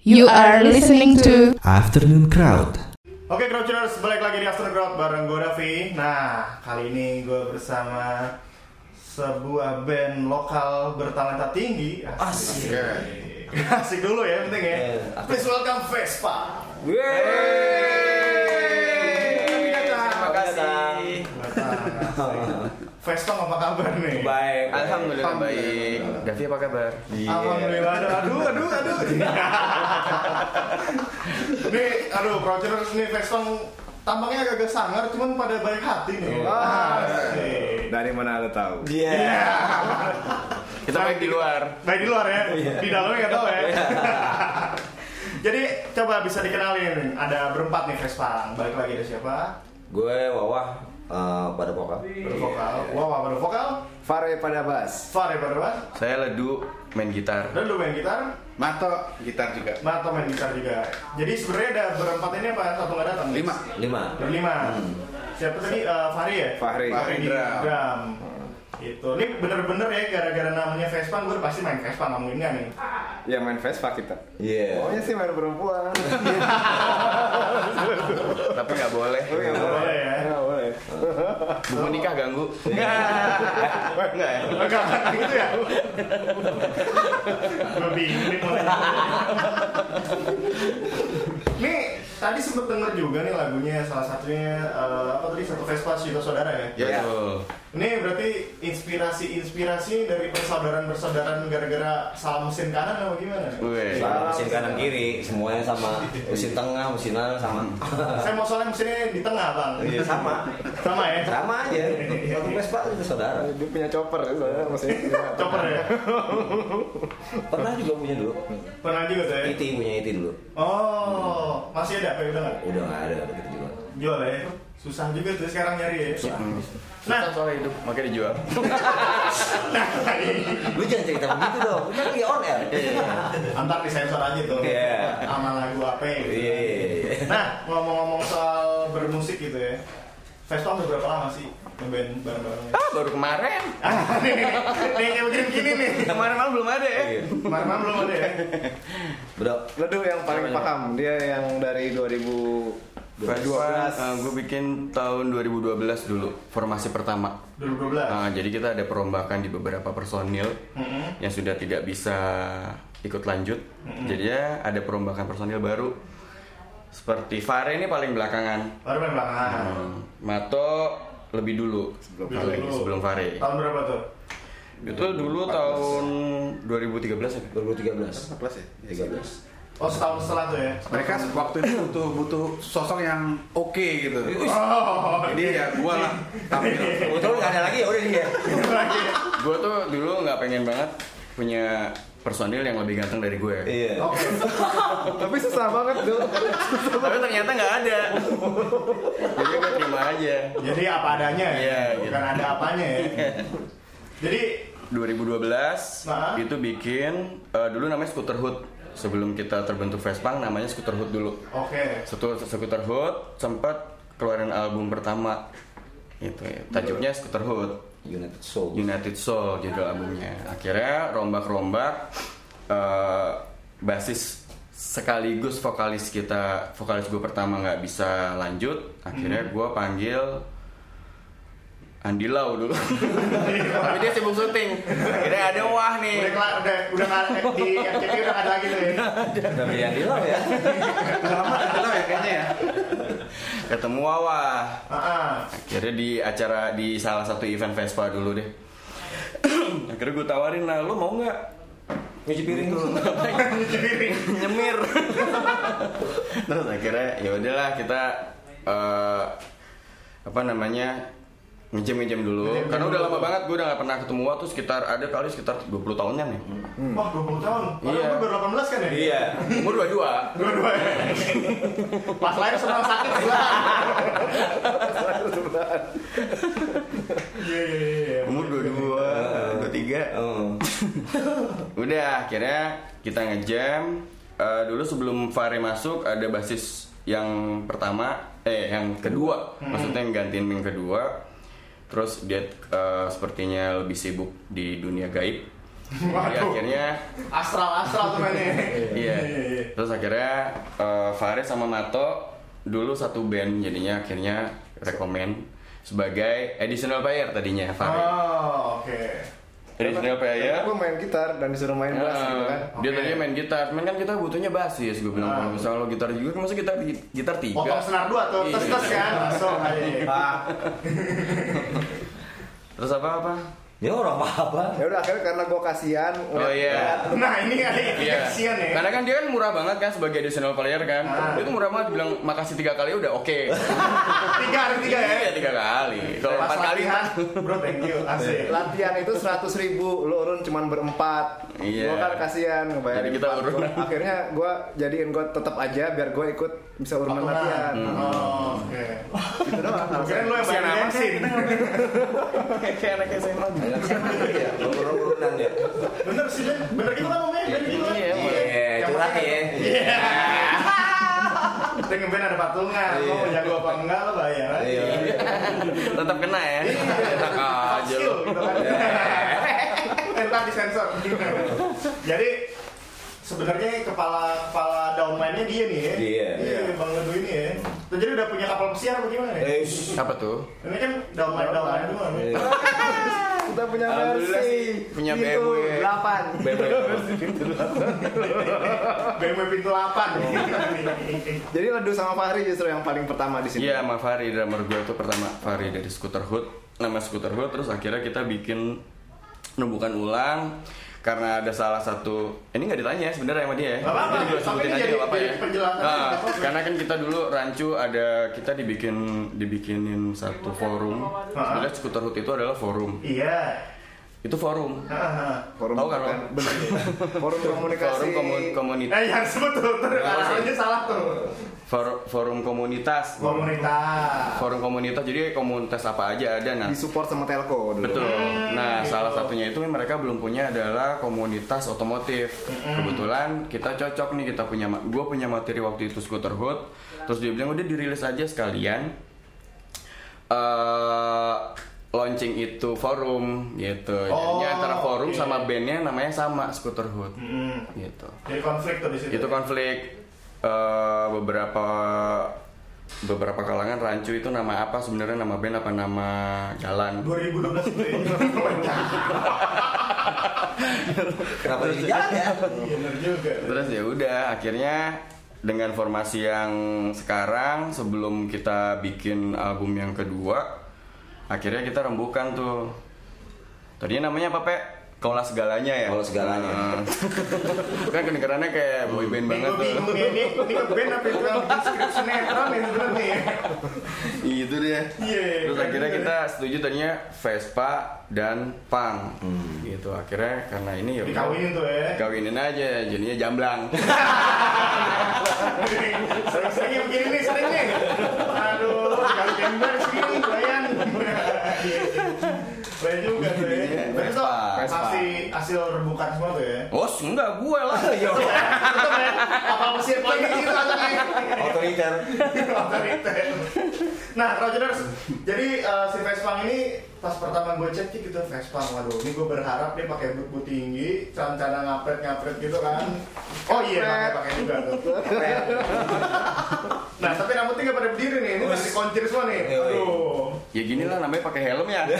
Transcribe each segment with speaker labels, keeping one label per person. Speaker 1: You are listening to
Speaker 2: Afternoon Crowd.
Speaker 3: Oke Crouchers, balik lagi di After Crowd bareng gue Raffi Nah, kali ini gue bersama sebuah band lokal bertalenta tinggi Asik Asik dulu ya, penting ya Please welcome Vespa
Speaker 4: Terima kasih.
Speaker 3: Vespa apa kabar nih?
Speaker 4: Baik. Alhamdulillah
Speaker 3: Alhamdulillah.
Speaker 4: baik. Gavi apa kabar?
Speaker 3: Alhamdulillah, aduh, aduh, aduh, aduh. nih, aduh, Crouchers nih Vespa tampangnya agak-agak sangar, cuman pada baik hati nih. Asik.
Speaker 5: Dari mana lo tahu?
Speaker 4: Iya. Kita main di luar.
Speaker 3: Baik di luar ya, di dalamnya nggak tahu ya. Jadi coba bisa dikenalin, ada berempat nih Vespa. Balik lagi ada siapa?
Speaker 6: Gue Wawah eh, pada pokok.
Speaker 3: Bervokal. Wow, wow, bervokal.
Speaker 5: Fare pada bass.
Speaker 3: Fare bervokal.
Speaker 4: Saya ledu main gitar.
Speaker 3: Dan lu main gitar,
Speaker 5: Mato gitar juga.
Speaker 3: Mato main gitar juga. Jadi sebenarnya ada berempat ini apa satu nggak datang?
Speaker 5: Lima.
Speaker 6: Lima.
Speaker 3: Berlima. Siapa tadi? Eh, Fahri ya?
Speaker 5: Fahri.
Speaker 3: Fahri di
Speaker 5: Drum.
Speaker 3: drum. Itu. Ini bener-bener ya gara-gara namanya Vespa, gue pasti main Vespa ngomongin nggak nih.
Speaker 5: Ya main Vespa kita.
Speaker 6: Iya.
Speaker 5: Pokoknya sih main perempuan.
Speaker 4: Tapi nggak boleh.
Speaker 5: Nggak
Speaker 3: boleh ya.
Speaker 5: Nggak Oh, iya, boleh.
Speaker 4: Buku nikah ganggu.
Speaker 5: Iya.
Speaker 3: Enggak, enggak, gitu ya. Gue bingung mulai. Nih, tadi sempet denger juga nih lagunya salah satunya eh, apa tadi satu Vespa Cinta Saudara ya.
Speaker 4: Ya.
Speaker 3: Ini berarti inspirasi-inspirasi dari persaudaraan-persaudaraan gara-gara salah mesin kanan atau gimana?
Speaker 4: Weh.
Speaker 6: Sama mesin kanan kiri, semuanya sama. Mesin tengah, mesin kanan sama.
Speaker 3: Saya mau soalnya mesinnya di tengah, Bang.
Speaker 6: Iya sama.
Speaker 3: Sama ya.
Speaker 6: Sama aja. Satu Vespa itu saudara.
Speaker 5: Dia punya chopper ya, soalnya maksudnya.
Speaker 3: Chopper ya.
Speaker 6: Pernah juga punya dulu.
Speaker 3: Pernah juga tuh ya.
Speaker 6: IT punya IT dulu.
Speaker 3: Oh, masih ada apa ya? udah nggak?
Speaker 6: Udah nggak ada udah gitu juga.
Speaker 3: Jual ya. Susah juga tuh sekarang nyari ya. Nah,
Speaker 4: soalnya hidup makanya dijual.
Speaker 6: Lu jangan cerita begitu dong. Kita lagi on air.
Speaker 3: antar di sensor aja tuh
Speaker 6: Iya.
Speaker 3: sama lagu apa gitu.
Speaker 6: Iya.
Speaker 3: nah ngomong-ngomong soal bermusik gitu ya Vespa udah berapa lama sih ngeband bareng-bareng
Speaker 4: Ah, baru kemarin.
Speaker 3: Ah, nih, nih, nih, kayak begini, begini nih
Speaker 4: Kemarin malam belum ada
Speaker 5: Iya.
Speaker 4: ya.
Speaker 3: kemarin belum ada ya
Speaker 6: Bro,
Speaker 5: Ledu yang paling paham. Dia yang dari 2012.
Speaker 4: Vespa, gue Eh, bikin tahun 2012 dulu formasi pertama.
Speaker 3: 2012
Speaker 6: Ah.
Speaker 4: Nah, jadi kita ada perombakan di beberapa personil
Speaker 3: Mm-mm.
Speaker 4: yang sudah tidak bisa ikut lanjut. Jadinya ada perombakan personil baru. Seperti Fare ini paling belakangan.
Speaker 3: baru main belakangan
Speaker 6: Ah.
Speaker 4: Hmm, Mato lebih dulu sebelum
Speaker 3: Lebih
Speaker 4: Fare.
Speaker 3: dulu.
Speaker 4: Sebelum Fare.
Speaker 3: tahun berapa tuh
Speaker 4: Itu dulu tahun 2013 ya.
Speaker 6: 2013.
Speaker 5: Kelas ya?
Speaker 6: 13.
Speaker 3: oh setahun setelah tuh ya
Speaker 7: mereka waktu itu butuh butuh sosok yang oke gitu.
Speaker 3: oh
Speaker 7: Jadi ya gua lah tampil.
Speaker 6: Betul nggak ada lagi ya udah dia.
Speaker 4: Gue tuh dulu nggak pengen banget punya personil yang lebih ganteng dari ya. gue.
Speaker 6: Iya.
Speaker 3: oke
Speaker 5: Tapi susah banget tuh.
Speaker 4: Tapi ternyata nggak ada. Jadi gue terima aja.
Speaker 3: jadi apa adanya ya
Speaker 4: Iya,
Speaker 3: bukan ada apanya ya
Speaker 6: Iya.
Speaker 3: jadi
Speaker 4: 2012
Speaker 3: Nah.
Speaker 4: itu bikin eh, dulu namanya Scooter Hood. Sebelum kita terbentuk Vespa namanya Scooter Hood dulu.
Speaker 3: oke
Speaker 4: Setelah Scooter Hood sempat keluarin album pertama itu ya. Tajuknya Scooter Hood.
Speaker 6: United Soul.
Speaker 4: United Soul judul albumnya. Akhirnya rombak-rombak eh, basis sekaligus vokalis kita vokalis gue pertama nggak bisa lanjut akhirnya
Speaker 7: Hmm.
Speaker 4: gue panggil Andi Lau dulu tapi dia sibuk syuting akhirnya ada wah
Speaker 3: udah
Speaker 4: nih
Speaker 3: kelar udah udah nggak- eh, di RCTI udah nggak ada lagi tuh ya
Speaker 6: Udah beli yang di lo ya.
Speaker 7: Lama adalah ya kayaknya ya.
Speaker 4: ketemu Wawah
Speaker 3: Ah,
Speaker 4: Akhirnya di acara di salah satu event Vespa dulu deh. Akhirnya gue tawarin lah, lo mau nggak? Nyuci piring dulu. Nyuci piring, nyemir. Terus akhirnya ya udahlah kita eh, apa namanya ngejem ngejem dulu.
Speaker 3: Ngejem-ngejem
Speaker 4: Karena udah
Speaker 3: dulu.
Speaker 4: lama banget gue udah gak pernah ketemu Wah tuh sekitar ada kali sekitar 20 tahunan ya.
Speaker 3: Wah, 20 tahun. Padahal
Speaker 4: Iya.
Speaker 3: umur baru 18 kan ya?
Speaker 4: Umur dua dua.
Speaker 3: Dua-dua ya. Pas lahir senang sakit sebelah. Iya, iya, iya, iya.
Speaker 4: Umur dua dua, dua tiga.
Speaker 6: Oh.
Speaker 4: Udah akhirnya kita ngejam Eh, dulu sebelum Fare masuk ada basis yang pertama eh yang kedua maksudnya yang gantiin yang kedua terus dia eh, sepertinya lebih sibuk di dunia gaib Jadi akhirnya
Speaker 3: astral astral tuh mainnya.
Speaker 4: iya. Terus akhirnya eh, Faris sama Mato dulu satu band jadinya akhirnya rekomend sebagai additional player tadinya Faris.
Speaker 3: Oh oke.
Speaker 4: Additional player.
Speaker 5: Gue main gitar dan disuruh main bass gitu kan.
Speaker 4: Dia
Speaker 3: Oke.
Speaker 4: tadinya main gitar, cuman kan kita butuhnya basis gue bilang
Speaker 3: Ah.
Speaker 4: kalau misalnya lo gitar juga, masa gitar gitar tiga.
Speaker 3: Potong senar dua tuh,
Speaker 4: Iya.
Speaker 3: tes tes kan, langsung aja.
Speaker 4: Terus apa apa?
Speaker 6: Ya orang apa-apa.
Speaker 5: Ya udah akhirnya karena gue kasihan.
Speaker 4: Oh iya.
Speaker 3: Nah ini kali
Speaker 4: Iya.
Speaker 3: kesian ya.
Speaker 4: Karena kan dia kan murah banget kan sebagai additional player kan.
Speaker 3: Ah.
Speaker 4: Dia tuh murah banget bilang makasih tiga kali udah oke.
Speaker 3: Tiga hari tiga ya.
Speaker 4: Iya tiga kali. Kalau
Speaker 3: Pas
Speaker 4: empat kali Iya.
Speaker 3: latihan, bro thank you, asik.
Speaker 5: Latihan itu seratus ribu, lo urun cuman berempat.
Speaker 4: Iya.
Speaker 5: Gue kan kasihan ngebayarin.
Speaker 4: Jadi kita
Speaker 5: empat.
Speaker 4: urunan.
Speaker 5: Gua- akhirnya gue jadiin gue tetap aja biar gue ikut bisa urunan
Speaker 3: Patungan.
Speaker 5: latihan.
Speaker 3: Oh, Oke. ya,
Speaker 5: Gitu doang.
Speaker 3: Kirain lu yang bayar
Speaker 4: Kesian Hmm. amat sih.
Speaker 3: bensin.
Speaker 4: kayak anak SMA.
Speaker 6: Iya, urun-urunan dia.
Speaker 3: Bener sih, Ben. bener gitu kan omnya, bener gitu kan.
Speaker 4: Iya,
Speaker 6: Iya,
Speaker 3: Yang
Speaker 6: curhat
Speaker 3: penting-
Speaker 6: ya.
Speaker 3: Kita ngeband ada patungan, lo mau jago apa enggak lo bayar aja.
Speaker 6: Iya.
Speaker 4: Tetap kena ya. Enak
Speaker 3: Iya. Soft
Speaker 4: aja
Speaker 3: skill
Speaker 4: lo.
Speaker 3: gitu kan. Entar disensor. Jadi sebenarnya kepala kepala downline-nya dia nih ya.
Speaker 6: Iya.
Speaker 3: Iya, Bang Ledu ini ya. Tuh, Jadi udah punya kapal pesiar apa gimana ya?
Speaker 6: Eh,
Speaker 4: Apa tuh?
Speaker 3: Ini kan downline downline semua. ya. nih.
Speaker 5: Kita punya
Speaker 4: Alhamdulillah
Speaker 5: Mercy.
Speaker 4: sih, punya
Speaker 5: Pintu
Speaker 4: BMW.
Speaker 5: Delapan.
Speaker 3: BMW pintu 8.
Speaker 5: Jadi Ledu sama Fahri justru yang paling pertama di sini.
Speaker 3: ya?
Speaker 4: Iya sama Fahri drummer gue tuh pertama Fahri dari Scooter Hood nama Scooter Hood terus akhirnya kita bikin nubukan ulang karena ada salah satu ini nggak ditanya ya sebenarnya sama dia ya
Speaker 3: Nggak apa-apa,
Speaker 4: Jadi gua
Speaker 3: sampai
Speaker 4: sebutin
Speaker 3: ini
Speaker 4: aja
Speaker 3: jadi-
Speaker 4: nggak apa-apa
Speaker 3: jadi penjelasan.
Speaker 4: Nah, karena kan kita dulu rancu ada kita dibikin dibikinin satu forum sebenarnya Scooter Hood itu adalah forum
Speaker 3: Iya.
Speaker 4: itu forum
Speaker 3: Hahaha.
Speaker 5: Forum
Speaker 4: Tahu kan,
Speaker 5: bukan?
Speaker 4: Ron?
Speaker 5: Bener. Forum komunikasi.
Speaker 4: forum komun- komunitas
Speaker 3: Eh, yang disebut tuh, tuh, arahnya salah tuh.
Speaker 4: forum komunitas
Speaker 3: Komunitas.
Speaker 4: forum komunitas jadi komunitas apa aja ada nah
Speaker 5: Disupport sama Telco dulu.
Speaker 4: Betul. Nah,
Speaker 3: gitu.
Speaker 4: salah satunya itu mereka belum punya adalah komunitas otomotif.
Speaker 3: Hmm.
Speaker 4: Kebetulan kita cocok nih kita punya gue punya materi waktu itu skuter hood. Terus dia bilang udah dirilis aja sekalian. eh launching itu forum gitu. Jadinya
Speaker 3: Oh,
Speaker 4: antara forum
Speaker 3: oke.
Speaker 4: sama bandnya namanya sama skuter hood.
Speaker 3: Hmm.
Speaker 4: Gitu.
Speaker 3: Jadi konflik tuh di situ.
Speaker 4: Itu konflik eh, beberapa beberapa kalangan rancu itu nama apa sebenarnya nama band apa nama jalan
Speaker 3: 2012 itu ya.
Speaker 6: Kenapa jadi jalan ya?
Speaker 3: Iya, Bener juga.
Speaker 4: Terus ya udah akhirnya dengan formasi yang sekarang sebelum kita bikin album yang kedua akhirnya kita rembukan tuh. Tadinya namanya apa Pe? Kaulah segalanya ya.
Speaker 6: Kaulah Segalanya.
Speaker 4: Heeh. kan kedengarannya kayak boy band
Speaker 3: Ini
Speaker 4: banget
Speaker 3: gue
Speaker 4: tuh.
Speaker 3: bingung ya, ini ini ngeband apa itu yang bikin skrip sinetron ya sebenernya nih.
Speaker 4: Itu dia.
Speaker 3: Iya,
Speaker 4: Terus
Speaker 3: bener.
Speaker 4: akhirnya kita setuju tadinya Vespa dan Pang.
Speaker 6: Hmm.
Speaker 4: Gitu akhirnya karena ini ya udah.
Speaker 3: Dikawinin tuh ya.
Speaker 4: Kawinin aja jadinya jamblang.
Speaker 3: Sering-sering yang begini nih, sering nih. Aduh, kalau gambar sini bayang. Bayar juga tuh ya.
Speaker 4: Iya,
Speaker 3: Tapi tuh
Speaker 4: Vespa.
Speaker 3: hasil hasil rebukan semua tuh ya.
Speaker 4: Oh, enggak gue lah.
Speaker 6: Iya.
Speaker 4: ya?
Speaker 3: Apa mesin paling gitu anaknya.
Speaker 6: Otoriter.
Speaker 3: Otoriter. nah, Rogerers, jadi eh, si Vespa ini pas pertama gue cek gitu Vespa, waduh, ini gue berharap dia pakai boot boot tinggi, celana ngapret ngapret gitu kan. Oh iya, pakai pakai juga tuh. nah, tapi rambutnya nggak pada berdiri nih, ini masih koncir semua nih.
Speaker 6: Yoi.
Speaker 3: Aduh.
Speaker 4: Ya gini lah namanya pakai helm ya.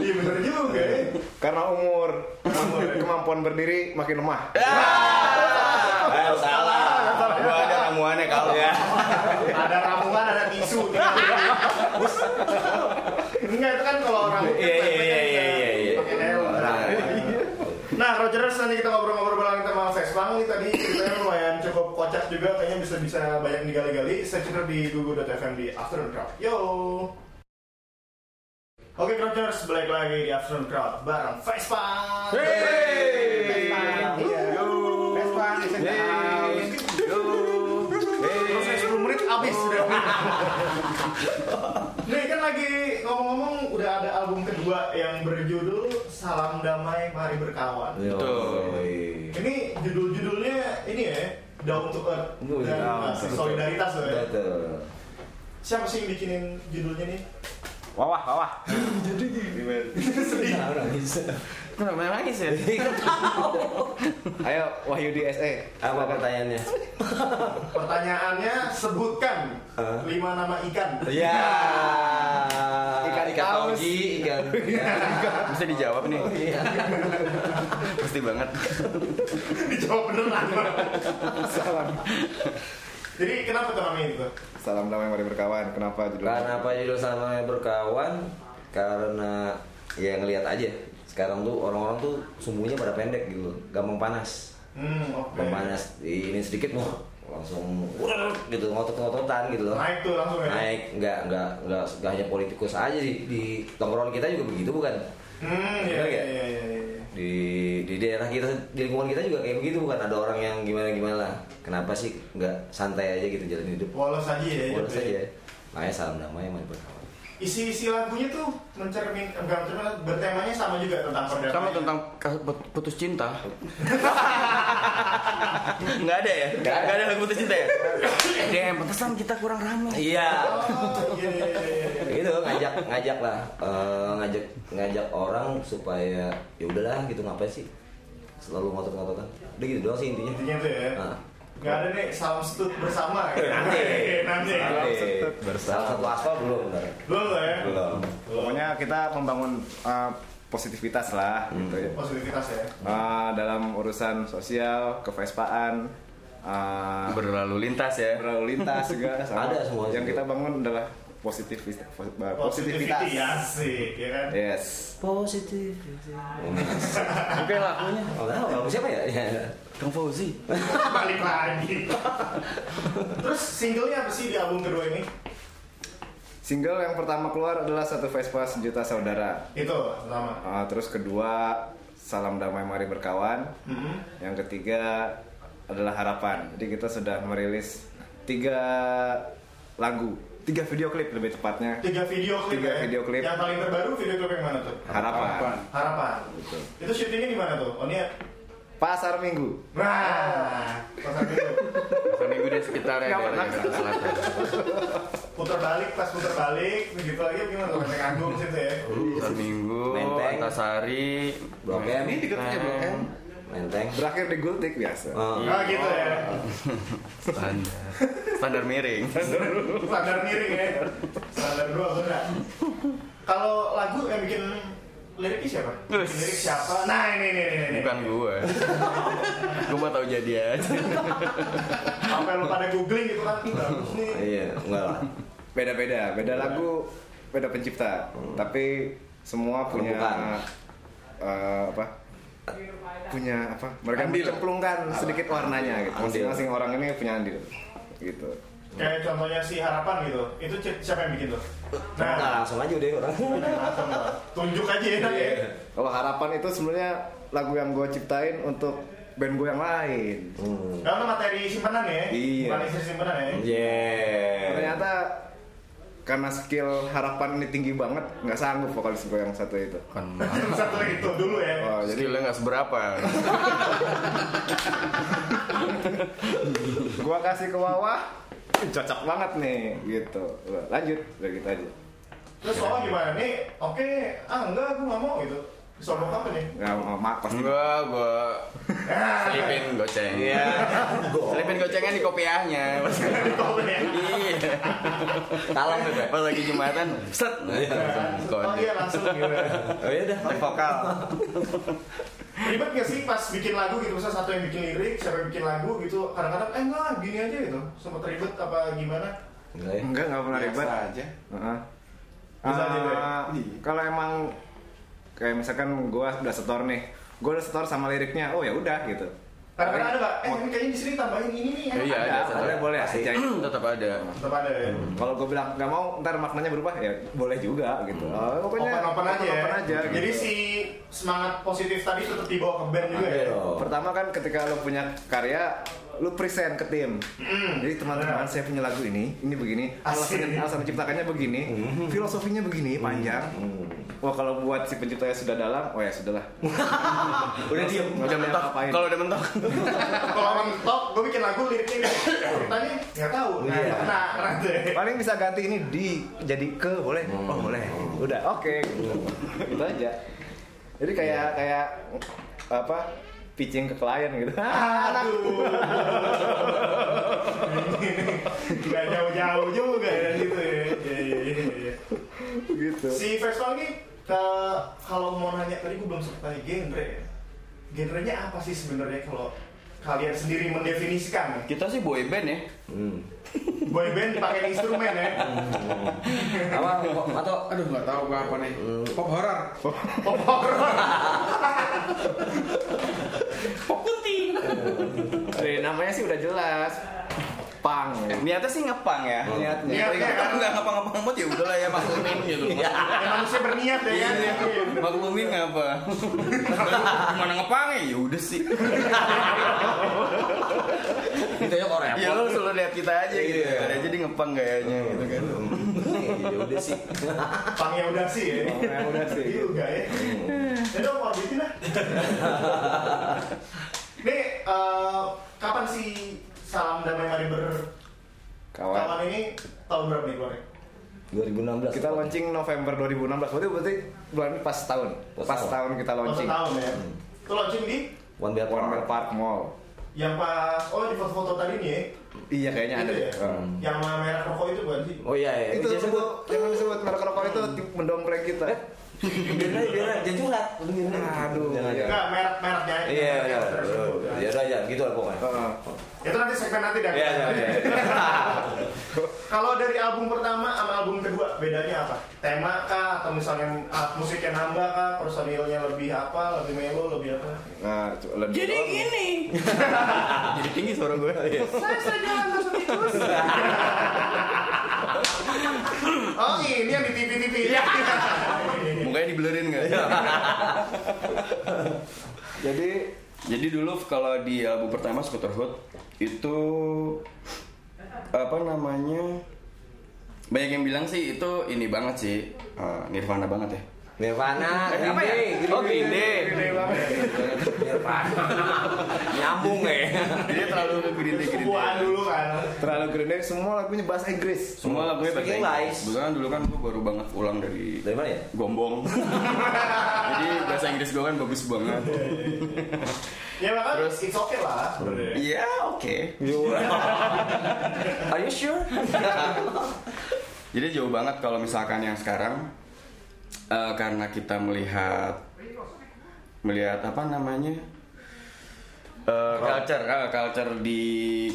Speaker 3: Iya bener juga ya.
Speaker 5: Karena umur, kemampuan berdiri makin lemah.
Speaker 6: Ah, Ayo salah.
Speaker 4: Gua ada ramuannya kalau.
Speaker 3: Ada ramungan, ada tisu. tinggal dihapus. Enggak itu kan kalau rambut
Speaker 6: Iya, iya, iya, iya, iya, iya.
Speaker 3: pakai helm. Nah, Rogers nanti kita ngobrol-ngobrol bareng kita sama Vespa nih tadi ceritanya lumayan cukup kocak juga kayaknya bisa bisa banyak digali-gali. Stay tune di gugu.fm di Afternoon Crowd. Yo. Oke, Rogers balik lagi di Afternoon Crowd bareng Vespa. iya. Hey.
Speaker 7: Vespa, is in the house.
Speaker 3: Proses 10 menit habis sudah. Nih kan lagi ngomong-ngomong udah ada album kedua yang berjudul Salam Damai Mari Berkawan.
Speaker 6: Iya.
Speaker 4: Betul.
Speaker 3: Ini judul-judulnya ini ya, Down to Earth
Speaker 6: Ini
Speaker 3: dan
Speaker 6: down.
Speaker 3: masih solidaritas loh ya.
Speaker 6: Betul.
Speaker 3: Siapa sih yang bikinin judulnya nih?
Speaker 4: Wawah, wawah.
Speaker 6: Nah, orang bisa.
Speaker 4: Itu namanya nangis ya?
Speaker 5: Ayo Wahyu di E. SE.
Speaker 6: Apa pertanyaannya?
Speaker 3: Pertanyaannya sebutkan
Speaker 6: Hah?
Speaker 3: lima nama ikan.
Speaker 6: Ya. Ikan ikan
Speaker 3: Haus.
Speaker 6: tonggi, ikan.
Speaker 4: Mesti dijawab nih.
Speaker 6: Iya.
Speaker 4: Pasti banget.
Speaker 3: Dijawab beneran. Jadi kenapa tuh namanya itu?
Speaker 5: Salam damai mari berkawan. Kenapa judul?
Speaker 6: Karena apa judul sama berkawan? Karena ya ngelihat aja. Sekarang tuh orang-orang tuh sumbunya pada pendek gitu, gampang panas.
Speaker 3: Hmm, oke.
Speaker 6: Gampang panas ini sedikit wah langsung wrrr, gitu ngotot-ngototan gitu loh.
Speaker 3: Naik tuh langsung ya.
Speaker 6: Naik nggak nggak nggak nggak hanya politikus aja di, di tongkrongan kita juga begitu bukan?
Speaker 3: Hmm,
Speaker 6: Bener
Speaker 3: iya iya
Speaker 6: nggak?
Speaker 3: iya iya, iya.
Speaker 6: di di daerah kita di lingkungan kita juga kayak begitu bukan ada orang yang gimana gimana kenapa sih nggak santai aja gitu jalan hidup
Speaker 3: Polos aja ya. hidup
Speaker 6: boros
Speaker 3: ya.
Speaker 6: aja makanya salam damai mari berkawan
Speaker 3: Isi-isi lagunya tuh mencermin enggak mencermin bertemanya sama juga tentang perdamaian.
Speaker 4: Sama tentang kas- putus cinta. Nggak ada ya? Nggak ada. lagu putus cinta ya? DM, pantesan kita kurang ramai.
Speaker 6: iya
Speaker 3: Oh, iya iya iya. iya.
Speaker 6: gitu ngajak ngajak lah eh, ngajak ngajak orang supaya ya udahlah gitu ngapain sih selalu ngotot-ngototan udah gitu doang sih intinya
Speaker 3: Intinya tuh ya.
Speaker 6: Nah.
Speaker 3: Nggak ada nih salam stut bersama. Nanti. Nanti.
Speaker 6: Nanti salah satu aspal belum benar
Speaker 3: Belum lah ya.
Speaker 6: belum
Speaker 3: Belum.
Speaker 5: Pokoknya kita membangun eh, positivitas lah gitu ya.
Speaker 3: Positivitas ya.
Speaker 5: Ah, dalam urusan sosial, kevespaan, ah,
Speaker 4: Berlalu lintas ya.
Speaker 5: berlalu lintas juga sama.
Speaker 6: Ada semua
Speaker 5: Yang
Speaker 6: situ.
Speaker 5: kita bangun adalah positivis- posi- bah, positivitas. Eh.
Speaker 3: Positivity asik ya kan.
Speaker 5: Yes.
Speaker 6: positif
Speaker 4: Oke lagunya.
Speaker 6: oh, nggak tahu, siapa ya
Speaker 4: Kang Fauzi.
Speaker 3: Balik lagi. Terus singlenya apa sih di album kedua ini?
Speaker 5: Single yang pertama keluar adalah satu Vespa sejuta saudara.
Speaker 3: Itu lama.
Speaker 5: Ah, terus kedua salam damai mari berkawan.
Speaker 3: Mm-hmm.
Speaker 5: Yang ketiga adalah harapan. Jadi kita sudah merilis tiga lagu, tiga video klip lebih tepatnya.
Speaker 3: Tiga video klip
Speaker 5: Tiga
Speaker 3: ya.
Speaker 5: video klip.
Speaker 3: Yang paling terbaru video klip yang mana tuh?
Speaker 5: Harapan.
Speaker 3: Harapan. Itu syutingnya di mana tuh? Oh ini ya.
Speaker 5: Pasar Minggu.
Speaker 3: Nah, pasar minggu.
Speaker 4: Seminggu di sekitar ya. daerah Jakarta Selatan.
Speaker 3: Putar balik, pas putar balik, begitu lagi gimana tuh? Naik Agung situ ya.
Speaker 4: Seminggu,
Speaker 6: Menteng.
Speaker 4: Antasari.
Speaker 6: Blok M
Speaker 7: Ini dekatnya Blok M.
Speaker 6: menteng
Speaker 5: Berakhir di Gultik biasa.
Speaker 6: Oh.
Speaker 3: Nah gitu ya.
Speaker 4: Standar. Standar miring.
Speaker 3: Standar miring ya. Standar dua benar. Kalau lagu yang bikin liriknya siapa? Bikin
Speaker 4: Us.
Speaker 3: Lirik siapa? Nah ini ini ini. ini.
Speaker 4: Bukan gue. gue mau tahu jadi aja.
Speaker 3: Sampai lu pada googling gitu kan. Bagus nih.
Speaker 6: Iya, enggak lah.
Speaker 5: Beda-beda, beda lagu, beda pencipta. Tapi semua punya
Speaker 6: Bukan.
Speaker 5: eh, apa? Punya apa? Mereka
Speaker 4: Andil.
Speaker 5: mencemplungkan sedikit warnanya gitu.
Speaker 6: Andil.
Speaker 5: Masing-masing orang ini punya andil. Gitu.
Speaker 3: Kayak contohnya si harapan gitu. Itu ci- siapa yang bikin tuh?
Speaker 6: Nah,
Speaker 3: Nah,
Speaker 6: langsung aja udah orang.
Speaker 3: langsung lah. tunjuk aja ya. Nak, ya.
Speaker 5: Kalau harapan itu sebenarnya lagu yang gue ciptain untuk band gue yang lain.
Speaker 6: Hmm.
Speaker 3: Karena materi simpanan ya.
Speaker 5: Iya.
Speaker 3: Bukan istri simpanan ya.
Speaker 6: Yeah.
Speaker 5: Ternyata karena skill harapan ini tinggi banget, nggak sanggup vokalis gue yang satu itu.
Speaker 4: Bukan.
Speaker 3: Satu itu dulu ya.
Speaker 5: Oh, jadi
Speaker 4: Skillnya nggak seberapa.
Speaker 5: gua kasih ke Wawa, cocok banget nih gitu. Lanjut, udah gitu aja.
Speaker 3: Terus soal gimana nih? Oke, ah enggak, gue nggak mau gitu. Sombong apa nih? Ah,
Speaker 5: Nggak mau mak pasti.
Speaker 4: Enggak, gue selipin goceng. Iya. selipin gocengnya di kopiahnya. Pas,
Speaker 3: Di komen ya.
Speaker 4: iya.
Speaker 6: Talang tuh, Pak.
Speaker 4: Pas lagi jumatan, set.
Speaker 3: Oh iya langsung gitu.
Speaker 6: Oh iya dah, pakai vokal.
Speaker 3: Ribet gak sih pas bikin lagu gitu? Misalnya satu yang bikin lirik, siapa yang bikin lagu gitu. Kadang-kadang, eh enggak, gini aja gitu. Sempet ribet apa gimana?
Speaker 6: Enggak ya.
Speaker 5: Enggak, nggak pernah ribet.
Speaker 7: Biasa aja.
Speaker 5: Heeh.
Speaker 3: Bisa aja, Dek.
Speaker 5: Ah, kalau emang kayak misalkan gua udah setor nih, gua udah setor sama liriknya, oh ya udah gitu.
Speaker 3: Kadang-kadang ada nggak? Eh
Speaker 5: Mau-
Speaker 3: ini kayaknya di sini tambahin ini nih.
Speaker 4: Iya, ada,
Speaker 5: ada,
Speaker 4: tetap-
Speaker 5: boleh
Speaker 6: Pasti.
Speaker 5: aja.
Speaker 4: Tetap ada.
Speaker 3: Tetap ada ya.
Speaker 5: Kalau gue bilang nggak mau, ntar maknanya berubah ya boleh juga gitu. Oh, pokoknya
Speaker 3: Open open Hmm. aja. ya.
Speaker 5: open aja, gitu.
Speaker 3: Jadi si semangat positif tadi tetap dibawa ke band juga
Speaker 6: Oke
Speaker 3: ya.
Speaker 6: Iya dong.
Speaker 5: Pertama kan ketika lo punya karya lu present ke tim. Jadi teman-teman saya punya lagu ini, ini begini, alasan
Speaker 3: Asik.
Speaker 5: alasan menciptakannya begini, filosofinya begini panjang. Wah kalau buat si penciptanya sudah dalam, oh ya sudahlah.
Speaker 6: Udah diem.
Speaker 4: Udah
Speaker 5: Nggak usah
Speaker 4: mentok.
Speaker 5: ngapain.
Speaker 4: Kalau udah mentok.
Speaker 3: Kalau mentok, gue bikin lagu liriknya ini. Kita nih nggak tahu. Nah,
Speaker 6: Iya.
Speaker 3: nah, nanti.
Speaker 5: Paling bisa ganti ini di jadi ke boleh. Oh boleh. Udah oke. gitu aja. Jadi kayak kayak apa? pitching ke klien gitu.
Speaker 3: Aduh. Gak jauh-jauh juga ya gitu ya. Iya, iya, iya, iya.
Speaker 5: gitu.
Speaker 3: Si Vespa ini ke kalau mau nanya tadi gue belum sempat tanya genre. ya. Genrenya apa sih sebenarnya kalau kalian sendiri mendefinisikan?
Speaker 4: Kita sih boy band ya.
Speaker 6: Hmm.
Speaker 3: Boy band pakai instrumen ya.
Speaker 6: Apa? kok- Atau
Speaker 7: Aduh nggak tahu gua apa nih. Pop horror.
Speaker 5: Dari namanya sih udah jelas. Pang.
Speaker 4: Niatnya sih ngepang ya. Niatnya.
Speaker 3: Niatnya.
Speaker 4: Tapi kalau nggak ngepang-ngepang banget ya udahlah ya maklumin gitu.
Speaker 3: Emang manusia berniat ya kan?
Speaker 6: Iya.
Speaker 4: Maklumin apa? Gimana ngepang ya? Ya udah sih.
Speaker 6: kita yuk orang
Speaker 4: Ya lu selalu lihat kita aja gitu.
Speaker 6: Iya.
Speaker 4: Ada jadi ngepang gayanya gitu kan.
Speaker 6: Ya udah sih.
Speaker 3: Pang ya udah sih ya.
Speaker 5: Yang udah sih.
Speaker 3: Iya juga ya. Jadi mau orbitin lah. Nih, eh, kapan sih salam damai mari ber
Speaker 5: Kawan.
Speaker 3: kawan ini tahun berapa nih keluarnya?
Speaker 6: 2016.
Speaker 5: Kita launching November 2016. Berarti berarti bulan ini pas tahun.
Speaker 6: Pas
Speaker 5: Pas
Speaker 6: tahun.
Speaker 5: tahun kita
Speaker 3: Masa
Speaker 5: launching.
Speaker 3: tahun ya.
Speaker 6: Hmm.
Speaker 3: Itu launching di
Speaker 6: One Bell
Speaker 5: Warmel Park Mall.
Speaker 3: yang pas oh di foto-foto tadi nih ya.
Speaker 5: Iya kayaknya ada.
Speaker 3: Itu
Speaker 5: deh.
Speaker 3: ya? Yang sama merah rokok itu bukan sih?
Speaker 6: Oh Hmm. iya, iya. Jangan
Speaker 5: Itu
Speaker 6: sebut.
Speaker 5: disebut jangan disebut merek rokok itu tim- mendompleng kita.
Speaker 4: Eh.
Speaker 6: Biarin aja, biarin aja. Jangan curhat. Biarin aja.
Speaker 5: Aduh,
Speaker 6: Jangan,
Speaker 5: iya.
Speaker 6: jangan.
Speaker 3: Enggak, merek-mereknya aja.
Speaker 6: Iya, iya.
Speaker 3: Tersebut.
Speaker 6: Ya udah aja, gitu lah pokoknya.
Speaker 5: Heeh.
Speaker 3: Itu nanti segmen nanti dah.
Speaker 6: Iya, iya, iya.
Speaker 3: Kalau dari album pertama sama album kedua bedanya apa? Tema kah atau misalnya ah, musiknya nambah kah? Personilnya lebih apa? Lebih melo, lebih apa?
Speaker 5: Nah, cu- lebih
Speaker 1: Jadi
Speaker 5: doang.
Speaker 1: gini,
Speaker 4: Jadi tinggi suara gue.
Speaker 1: saya sedang masuk tikus.
Speaker 3: Oh ini yang di TV-TV. Iya.
Speaker 4: Mukanya diblerin nggak?
Speaker 5: Jadi
Speaker 4: Jadi dulu kalau di album pertama Scooter Hood itu apa namanya? Banyak yang bilang sih itu ini banget sih eh, Nirvana banget ya.
Speaker 6: Nirvana, Green
Speaker 4: apa ya?
Speaker 6: Day, gitu.
Speaker 4: Oh, Green Day.
Speaker 6: Nirvana. Nyambung ya.
Speaker 4: Jadi terlalu ke Green Day Green Day.
Speaker 3: Kebuaan dulu kan.
Speaker 5: terlalu Green Day semua lagunya bahasa Inggris.
Speaker 4: Semua lagunya
Speaker 6: Hmm.
Speaker 4: bahasa
Speaker 6: Speaking
Speaker 4: Inggris.
Speaker 6: lies.
Speaker 4: Kebetulan dulu kan gue baru banget pulang dari
Speaker 6: Dari mana ya?
Speaker 4: Gombong. Jadi bahasa Inggris gue kan bagus banget.
Speaker 6: Iya,
Speaker 3: Ya makanya
Speaker 4: Terus?
Speaker 3: it's okay lah.
Speaker 4: Iya, oke.
Speaker 6: Are you sure?
Speaker 4: Jadi jauh banget kalau misalkan yang sekarang eh, karena kita melihat melihat apa namanya eh, culture eh, culture di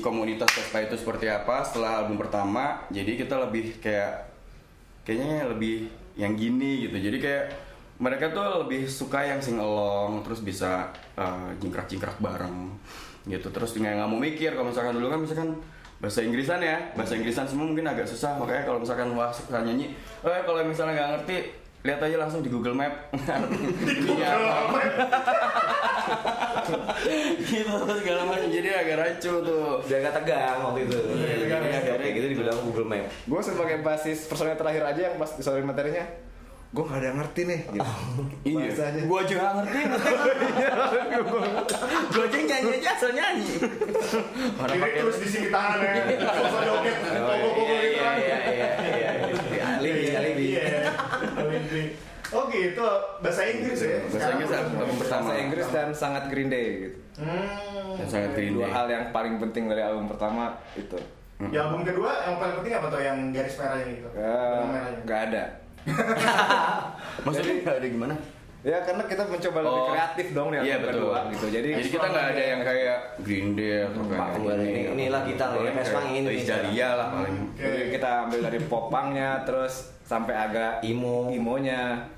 Speaker 4: komunitas Vespa itu seperti apa setelah album pertama. Jadi kita lebih kayak kayaknya lebih yang gini gitu. Jadi kayak mereka tuh lebih suka yang sing along terus bisa eh, jingkrak-jingkrak bareng gitu. Terus nggak nggak mau mikir kalau misalkan dulu kan misalkan bahasa Inggrisan ya, bahasa Inggrisan semua mungkin agak susah makanya kalau misalkan wah suka nyanyi, eh kalau misalnya nggak ngerti lihat aja langsung di Google Map. Iya, apa. gitu segala macam jadi agak rancu tuh.
Speaker 6: Biar gak tegang waktu itu. Iya, Akhirnya gitu dibilang Google Map.
Speaker 5: Gue sebagai basis personel terakhir aja yang pas disodorin materinya. Gue gak ada yang ngerti nih. Gitu.
Speaker 4: Oh. Iya.
Speaker 5: Bahasanya.
Speaker 4: Gua aja nggak ngerti. Gua aja nyanyi aja asal nyanyi. Orang
Speaker 3: Lirik
Speaker 4: pakai Iya. Oh,
Speaker 3: terus di sini tangan ya. Sosok joget.
Speaker 6: Iya,
Speaker 3: Pokok-pokok gitu
Speaker 6: iya,
Speaker 3: kan.
Speaker 6: iya, iya, iya. Alibi,
Speaker 3: Iya,
Speaker 6: alibi.
Speaker 3: iya. Alibi. Oh gitu, bahasa Inggris ya?
Speaker 4: Bahasa Inggris
Speaker 3: Sekarang
Speaker 4: album
Speaker 3: udah-
Speaker 4: pertama.
Speaker 5: Bahasa Inggris dan sangat Green Day gitu.
Speaker 3: Hmm.
Speaker 4: Yang sangat green
Speaker 5: Dua
Speaker 4: day.
Speaker 5: hal yang paling penting dari album pertama itu.
Speaker 3: Di album kedua yang paling penting apa tuh yang garis merahnya gitu?
Speaker 5: Eh,
Speaker 3: Benang merahnya.
Speaker 5: Nggak ada.
Speaker 4: Maksudnya nggak ada gimana?
Speaker 5: Ya karena kita mencoba lebih
Speaker 4: Oh.
Speaker 5: kreatif dong di album
Speaker 4: Iya, betul.
Speaker 5: kedua gitu. Jadi,
Speaker 4: Jadi kita nggak ada yang kayak Green Day atau kayak
Speaker 6: Pak, nggak ada. Ini- inilah kita nih,
Speaker 4: Paling
Speaker 6: Vespa
Speaker 4: kayak
Speaker 6: ini.
Speaker 4: Toys Jariah lah paling.
Speaker 5: Jadi kita ambil dari popangnya terus sampai agak
Speaker 6: Imo.
Speaker 5: imonya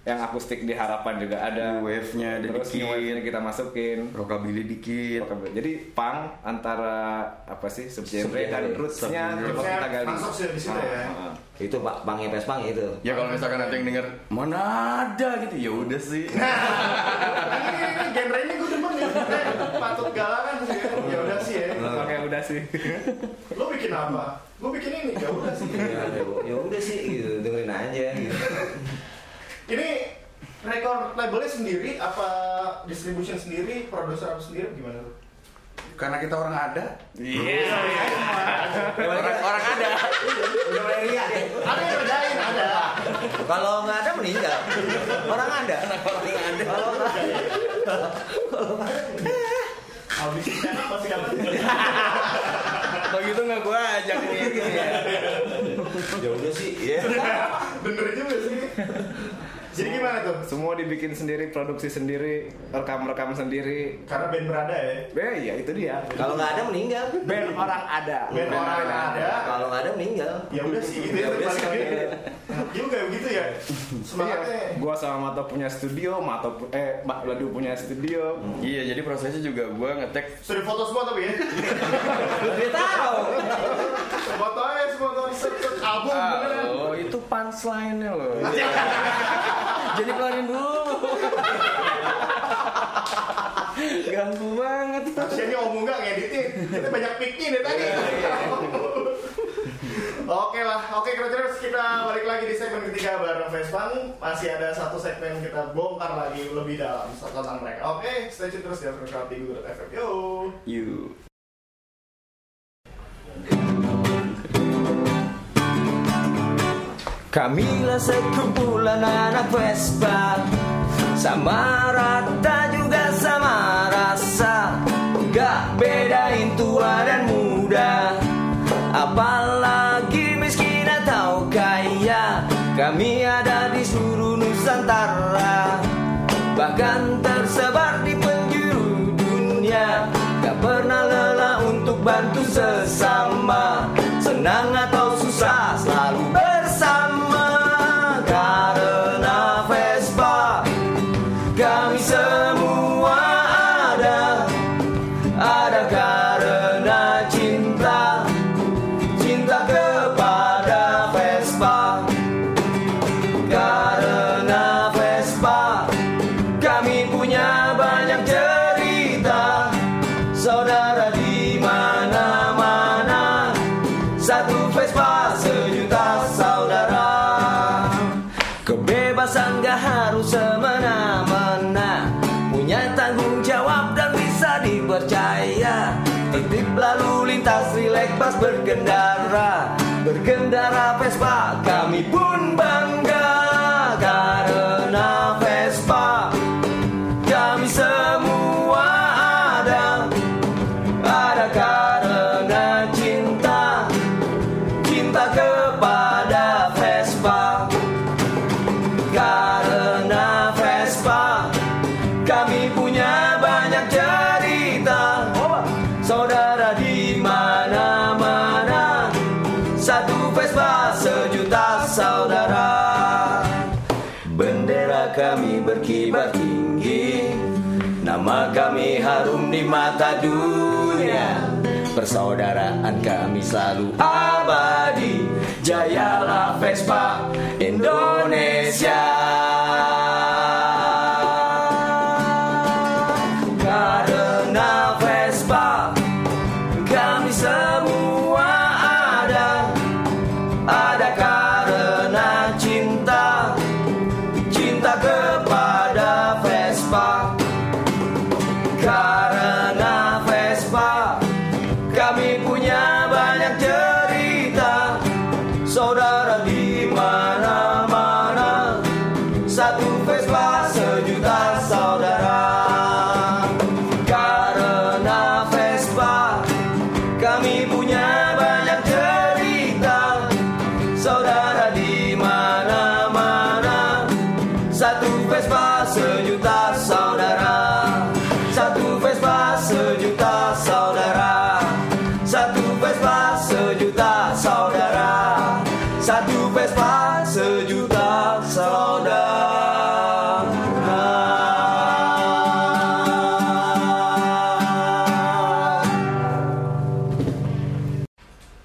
Speaker 5: yang akustik di harapan juga ada
Speaker 4: New wave-nya ada
Speaker 5: terus
Speaker 4: dikit.
Speaker 5: new wave-nya kita masukin
Speaker 4: Rockabilly dikit.
Speaker 5: jadi pang antara apa sih subgenre
Speaker 6: Subgenre.
Speaker 5: dan rootsnya coba
Speaker 3: Saya
Speaker 5: kita gali
Speaker 3: Masuk sih di situ ya.
Speaker 5: Ah, ah.
Speaker 6: Itu Pak Pangnya Pespang itu.
Speaker 4: Ya kalau misalkan nanti yang denger mana ada gitu ya udah sih.
Speaker 3: Nah, ini, ini, ini genre ini gue udah emang ya Eh, patut galakan sih ya. Ya udah sih ya.
Speaker 5: Pakai udah sih.
Speaker 3: Lo bikin apa? Gue bikin ini. Ya udah sih.
Speaker 6: ya, ya udah sih gitu dengerin aja gitu
Speaker 3: Ini rekor labelnya sendiri apa distribution sendiri, produser apa sendiri gimana lu?
Speaker 7: Karena kita orang ada.
Speaker 4: Orang, orang ada.
Speaker 6: udah mulai riak ya
Speaker 3: Ada yang ngerjain, ada.
Speaker 6: kalau nggak ada meninggal orang ada orang ada kalau nggak ada
Speaker 3: Habis ini kan pasti dapat.
Speaker 4: Kalau gitu nggak gua ajak nih.
Speaker 5: gitu
Speaker 6: ya udah sih ya
Speaker 3: Bener juga sih. Jadi gimana tuh?
Speaker 5: Semua dibikin sendiri, produksi sendiri, rekam-rekam sendiri.
Speaker 3: Karena band berada ya.
Speaker 5: Eh, ya itu dia.
Speaker 6: kalau nggak ada meninggal
Speaker 5: Band orang ada.
Speaker 3: Band orang ada.
Speaker 6: kalau nggak ada meninggal
Speaker 3: Ya udah sih gitu ya.
Speaker 6: Ya udah
Speaker 3: paling
Speaker 6: sih.
Speaker 3: gede. Juga begitu ya.
Speaker 5: Iya,
Speaker 3: Semangatnya.
Speaker 5: gua sama Mato punya studio, Mato pu- eh Mbak Ladu punya studio.
Speaker 4: Iya, jadi prosesnya juga gua ngetek
Speaker 3: Sudah foto semua tapi ya.
Speaker 6: dia tahu
Speaker 3: Foto aja semua foto set, set, album
Speaker 4: Ah,
Speaker 3: beneran.
Speaker 4: Oh, itu punchline-nya loh. Jadi keluarin dulu. Ganggu banget.
Speaker 3: Kasiannya Om Bunga ngeditnya, kita banyak pikir deh tadi. Oke lah, oke terus kita balik lagi di segmen ketiga bareng Vespan Masih ada satu segmen kita bongkar lagi lebih dalam tentang mereka Oke, stay tune terus di After Crowd di Google FM Yo
Speaker 4: You.
Speaker 6: Kamilah sekumpulan anak Vespa Sama rata juga sama rasa Gak bedain tua dan muda Apalagi miskin atau kaya Kami ada di seluruh Nusantara Bahkan tersebar di penjuru dunia Gak pernah lelah untuk bantu sesama Senang atau susah selalu bersama Karena Vespa Kami semua ada Ada karena cinta Cinta kepada Vespa Karena Vespa kami punya banyak cerita Saudara di mana-mana Satu Vespa sejuta saudara Kebebasan gak harus semena-mena Punya tanggung jawab dan bisa dipercaya Tertib lalu lintas rileks pas berkendara Berkendara Vespa kami pun bangga Karena Vespa kami semua ada Ada karena cinta Cinta kepada Vespa Karena Vespa Kami punya banyak cerita Saudara di mana-mana Satu Vespa sejuta saudara Bendera kami berkibar tinggi Nama kami harum di mata dunia Persaudaraan kami selalu abadi Jayalah Vespa Indonesia Karena Vespa Kami semua ada Ada karena cinta cinta kepada Vespa karena Vespa kami punya banyak cerita saudara di mana-mana satu Vespa sejuta saudara karena Vespa kami punya banyak cerita saudara di mana-mana satu Vespa sejuta saudara Satu Vespa sejuta saudara Satu Vespa sejuta saudara Satu Vespa sejuta saudara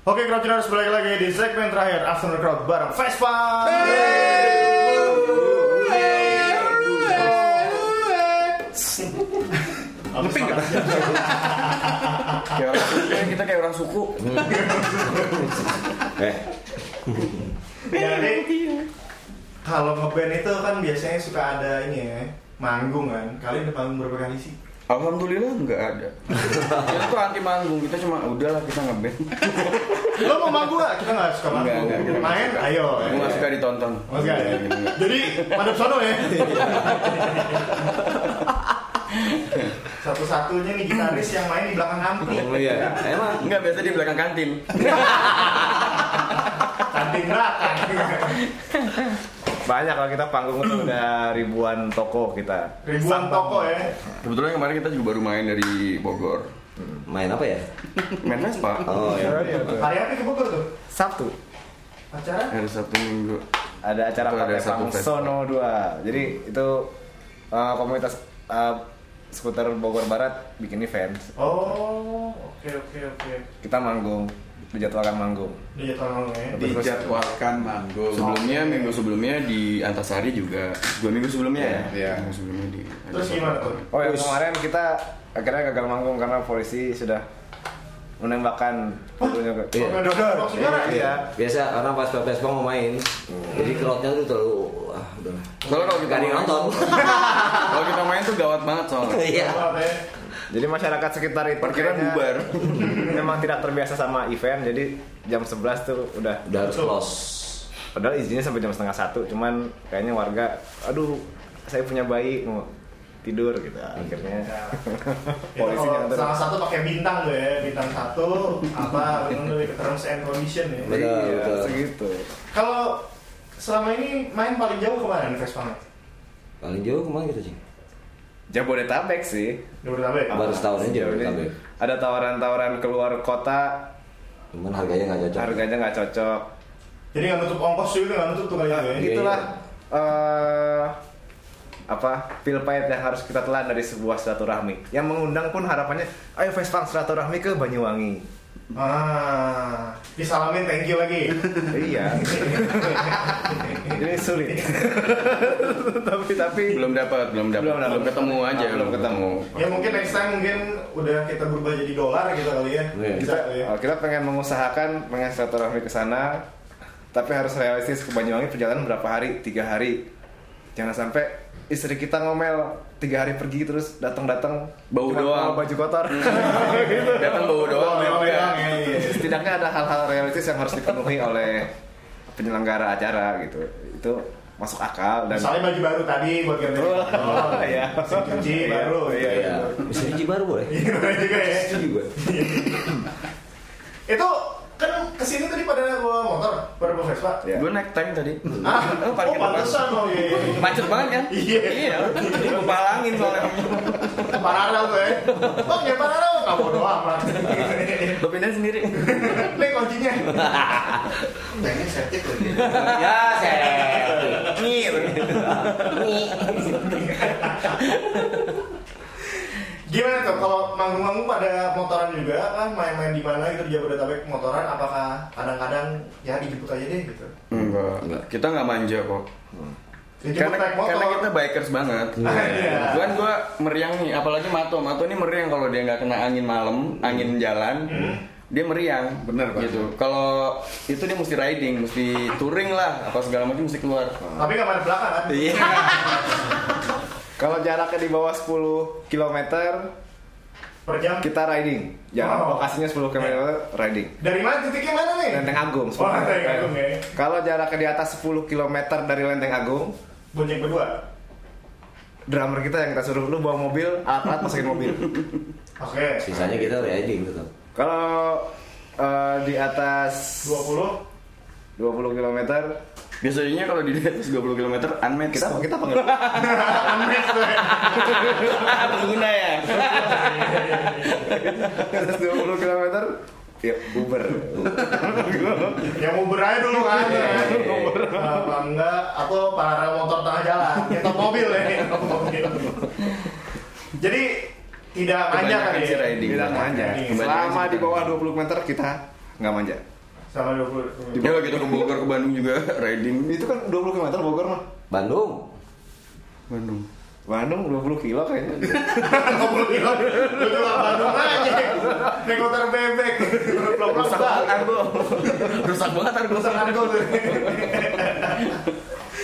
Speaker 3: Oke Crowdtuners balik lagi di segmen terakhir Afternoon Crowd bareng Vespan
Speaker 7: Ngeping nggak?
Speaker 4: Kayak orang suku, kita kayak orang suku.
Speaker 6: eh
Speaker 3: Iya, Jadi kalau ngeband itu kan biasanya suka ada ini ya manggung kan. Kalian udah panggung berapa kali sih?
Speaker 4: Alhamdulillah nggak ada. kita tuh anti manggung, kita cuma udahlah kita ngeband.
Speaker 3: Lo mau manggung nggak? Kita nggak suka
Speaker 4: Enggak,
Speaker 3: manggung.
Speaker 4: enggak, kita nggak
Speaker 3: Main,
Speaker 4: suka.
Speaker 3: ayo.
Speaker 4: Gue nggak suka ditonton.
Speaker 3: Mas Gal, ya? Jadi madep sono ya. Satu-satunya nih gitaris yang main di belakang ampli.
Speaker 6: oh iya emang
Speaker 4: Enggak biasa di belakang kantin.
Speaker 3: Kantin neraka.
Speaker 5: Banyak kalau kita panggung itu udah ribuan toko kita.
Speaker 3: Ribuan toko ya.
Speaker 4: Kebetulan kemarin kita juga baru main dari Bogor.
Speaker 6: main apa ya
Speaker 4: Main Vespa.
Speaker 6: oh iya
Speaker 3: Hari apa ke Bogor tuh?
Speaker 5: Sabtu
Speaker 3: Acara?
Speaker 4: Hari Sabtu Minggu.
Speaker 5: ada acara
Speaker 4: Itu ada
Speaker 5: Partai
Speaker 4: satu
Speaker 5: Panggung
Speaker 4: festival.
Speaker 5: Sono 2. Jadi itu eh, komunitas eh, skuter Bogor Barat bikin event.
Speaker 3: Oh, oke oke oke.
Speaker 5: Kita manggung, dijadwalkan manggung.
Speaker 3: Dia tolong ya.
Speaker 7: Dijadwalkan manggung.
Speaker 4: Sebelumnya minggu sebelumnya di Antasari juga. Dua minggu sebelumnya ya.
Speaker 7: Iya.
Speaker 4: Minggu sebelumnya di.
Speaker 3: Terus gimana tuh?
Speaker 5: Oh ya kemarin kita akhirnya gagal manggung karena polisi sudah menembakkan turunnya ke
Speaker 6: Iya.
Speaker 3: Dodor.
Speaker 5: Iya.
Speaker 6: biasa orang pas pas mau main jadi crowdnya tuh terlalu wah udah lah.
Speaker 4: Soalnya kalau kita
Speaker 6: Gak ada yang
Speaker 4: main-
Speaker 6: nonton
Speaker 4: Kalau kita main tuh gawat banget soalnya.
Speaker 6: iya
Speaker 3: ya.
Speaker 5: Jadi masyarakat sekitar itu
Speaker 4: Parkiran
Speaker 5: kayaknya
Speaker 4: bubar.
Speaker 5: Memang tidak terbiasa sama event, jadi jam 11 tuh udah
Speaker 6: udah harus close
Speaker 5: Padahal izinnya sampai jam setengah satu, cuman kayaknya warga, aduh, saya punya bayi mau tidur gitu. Akhirnya
Speaker 3: Polisi
Speaker 5: polisinya nganter.
Speaker 3: Ya. salah satu pakai bintang tuh ya, bintang satu apa benar lebih ke terms and condition ya.
Speaker 6: Betul,
Speaker 5: Iya,
Speaker 6: betul.
Speaker 5: segitu.
Speaker 3: Kalau selama ini main paling jauh kemarin Vespa Max?
Speaker 6: paling jauh kemana gitu, kita sih
Speaker 5: Jabodetabek sih.
Speaker 3: Jabodetabek.
Speaker 6: baru setahun aja
Speaker 5: Sejauh ini
Speaker 6: Jabodetabek
Speaker 5: Ada tawaran-tawaran keluar kota,
Speaker 6: cuman harganya nggak cocok
Speaker 5: harganya nggak cocok.
Speaker 3: Jadi nggak nutup ongkos juga nggak nutup tuh kali itu ya.
Speaker 6: Iya,
Speaker 5: Itulah Nah, eh, apa pil pahit yang harus kita telan dari sebuah silaturahmi. Yang mengundang pun harapannya, ayo Vespang silaturahmi ke Banyuwangi.
Speaker 3: Ah, disalamin thank you lagi.
Speaker 5: iya. Ini sulit. tapi tapi
Speaker 4: Belum dapat, belum dapat.
Speaker 5: Belum
Speaker 4: Belum,
Speaker 5: dapat.
Speaker 4: ketemu aja,
Speaker 5: Ah, belum ketemu.
Speaker 3: ya mungkin next time mungkin udah kita berubah jadi dolar gitu kali ya.
Speaker 6: Iya.
Speaker 3: Bisa
Speaker 5: kita
Speaker 3: kali ya.
Speaker 5: oh, kita pengen mengusahakan pengen silaturahmi ke sana tapi harus realistis ke Banyuwangi perjalanan berapa hari tiga hari jangan sampai istri kita ngomel tiga hari pergi terus datang datang
Speaker 4: Bau doang.
Speaker 5: baju kotor
Speaker 4: Datang bawa doang.
Speaker 3: Dolar
Speaker 4: ya.
Speaker 3: doang, iya, iya.
Speaker 5: setidaknya ada hal-hal realistis yang harus dipenuhi oleh penyelenggara acara gitu itu masuk akal dan
Speaker 3: Misalnya baju baru tadi buat ganti. Oh,
Speaker 5: Iya.
Speaker 3: mesin Cuci
Speaker 5: Iya.
Speaker 3: baru. Iya.
Speaker 6: iya bisa biji baru boleh
Speaker 3: Iya bener juga ya.
Speaker 6: Setuju gue
Speaker 3: Itu kan kesini tadi pada bawa motor, pada bawa Vespa.
Speaker 5: Iya.
Speaker 4: Gue naik tank tadi.
Speaker 3: Ah,
Speaker 4: Oh,
Speaker 3: oh,
Speaker 4: parkir depan.
Speaker 3: pantesan oh iya. iya, iya.
Speaker 4: Macet banget kan?
Speaker 3: Iya.
Speaker 4: Iya. Gue palangin soalnya.
Speaker 3: Paralel tuh ya. Bang, ya paralel enggak bodo amat.
Speaker 4: Lo pindahin sendiri.
Speaker 3: Nih kuncinya. Kayaknya septic lagi.
Speaker 6: ya saya
Speaker 4: Ngir.
Speaker 3: Gimana tuh kalau manggung-manggung pada motoran juga kan main-main di mana gitu di Jabodetabek motoran apakah kadang-kadang ya dijemput aja deh gitu.
Speaker 4: Enggak. Kita nggak manja kok.
Speaker 3: Dijemput
Speaker 4: Karena,
Speaker 3: naik motor.
Speaker 4: karena kita bikers banget.
Speaker 3: Iya.
Speaker 4: Bukan gue meriang nih, apalagi Mato. Mato ini meriang kalau dia nggak kena angin malam, angin jalan. Dia meriang,
Speaker 7: Bener, Pak.
Speaker 4: gitu. Kalau itu dia mesti riding, mesti touring lah, apa segala macam mesti keluar.
Speaker 3: Tapi nggak pada belakang kan?
Speaker 4: Iya.
Speaker 5: kalau jaraknya di bawah 10 km
Speaker 3: Per jam.
Speaker 5: kita riding jarak
Speaker 3: Wow.
Speaker 5: lokasinya 10 km riding
Speaker 3: Dari mana titiknya mana nih?
Speaker 5: Lenteng Agung.
Speaker 3: Oh, Lenteng Agung ya.
Speaker 5: Kalau jaraknya di atas 10 km dari Lenteng Agung,
Speaker 3: Bonceng kedua.
Speaker 5: drummer kita yang kita suruh lu bawa mobil, alat-alat masukin mobil.
Speaker 3: Oke.
Speaker 6: sisanya kita gitu, riding tetap
Speaker 5: Kalau eh, di atas
Speaker 3: 20
Speaker 5: 20 km
Speaker 4: Biasanya kalau di atas 20 km unmatched.
Speaker 5: kita kita pengen
Speaker 4: Ah, pengguna ya.
Speaker 5: 20 km ya Uber.
Speaker 3: yang Uber aja dulu
Speaker 4: Iya,
Speaker 3: kan ya. apa enggak atau paralel motor tengah jalan nyetop mobil ya nyetop mobil jadi tidak manja
Speaker 4: Kebanyakan
Speaker 3: kan
Speaker 4: sih
Speaker 3: ya
Speaker 4: riding.
Speaker 5: Tidak manja.
Speaker 3: Kebanyakan
Speaker 5: Selama di bawah 20 km kita nggak manja.
Speaker 3: sama 20
Speaker 4: Dia gitu ke Bogor ke Bandung juga riding.
Speaker 5: Itu kan 20 km Bogor mah.
Speaker 6: Bandung
Speaker 4: Bandung.
Speaker 5: Bandung 20 kilo kayaknya.
Speaker 3: Ngobrol kilo, gue cuma Bandung aja. Naik motor bebek, belum balik.
Speaker 4: Argo. Rusak banget Argo.
Speaker 3: Rusak argo tuh.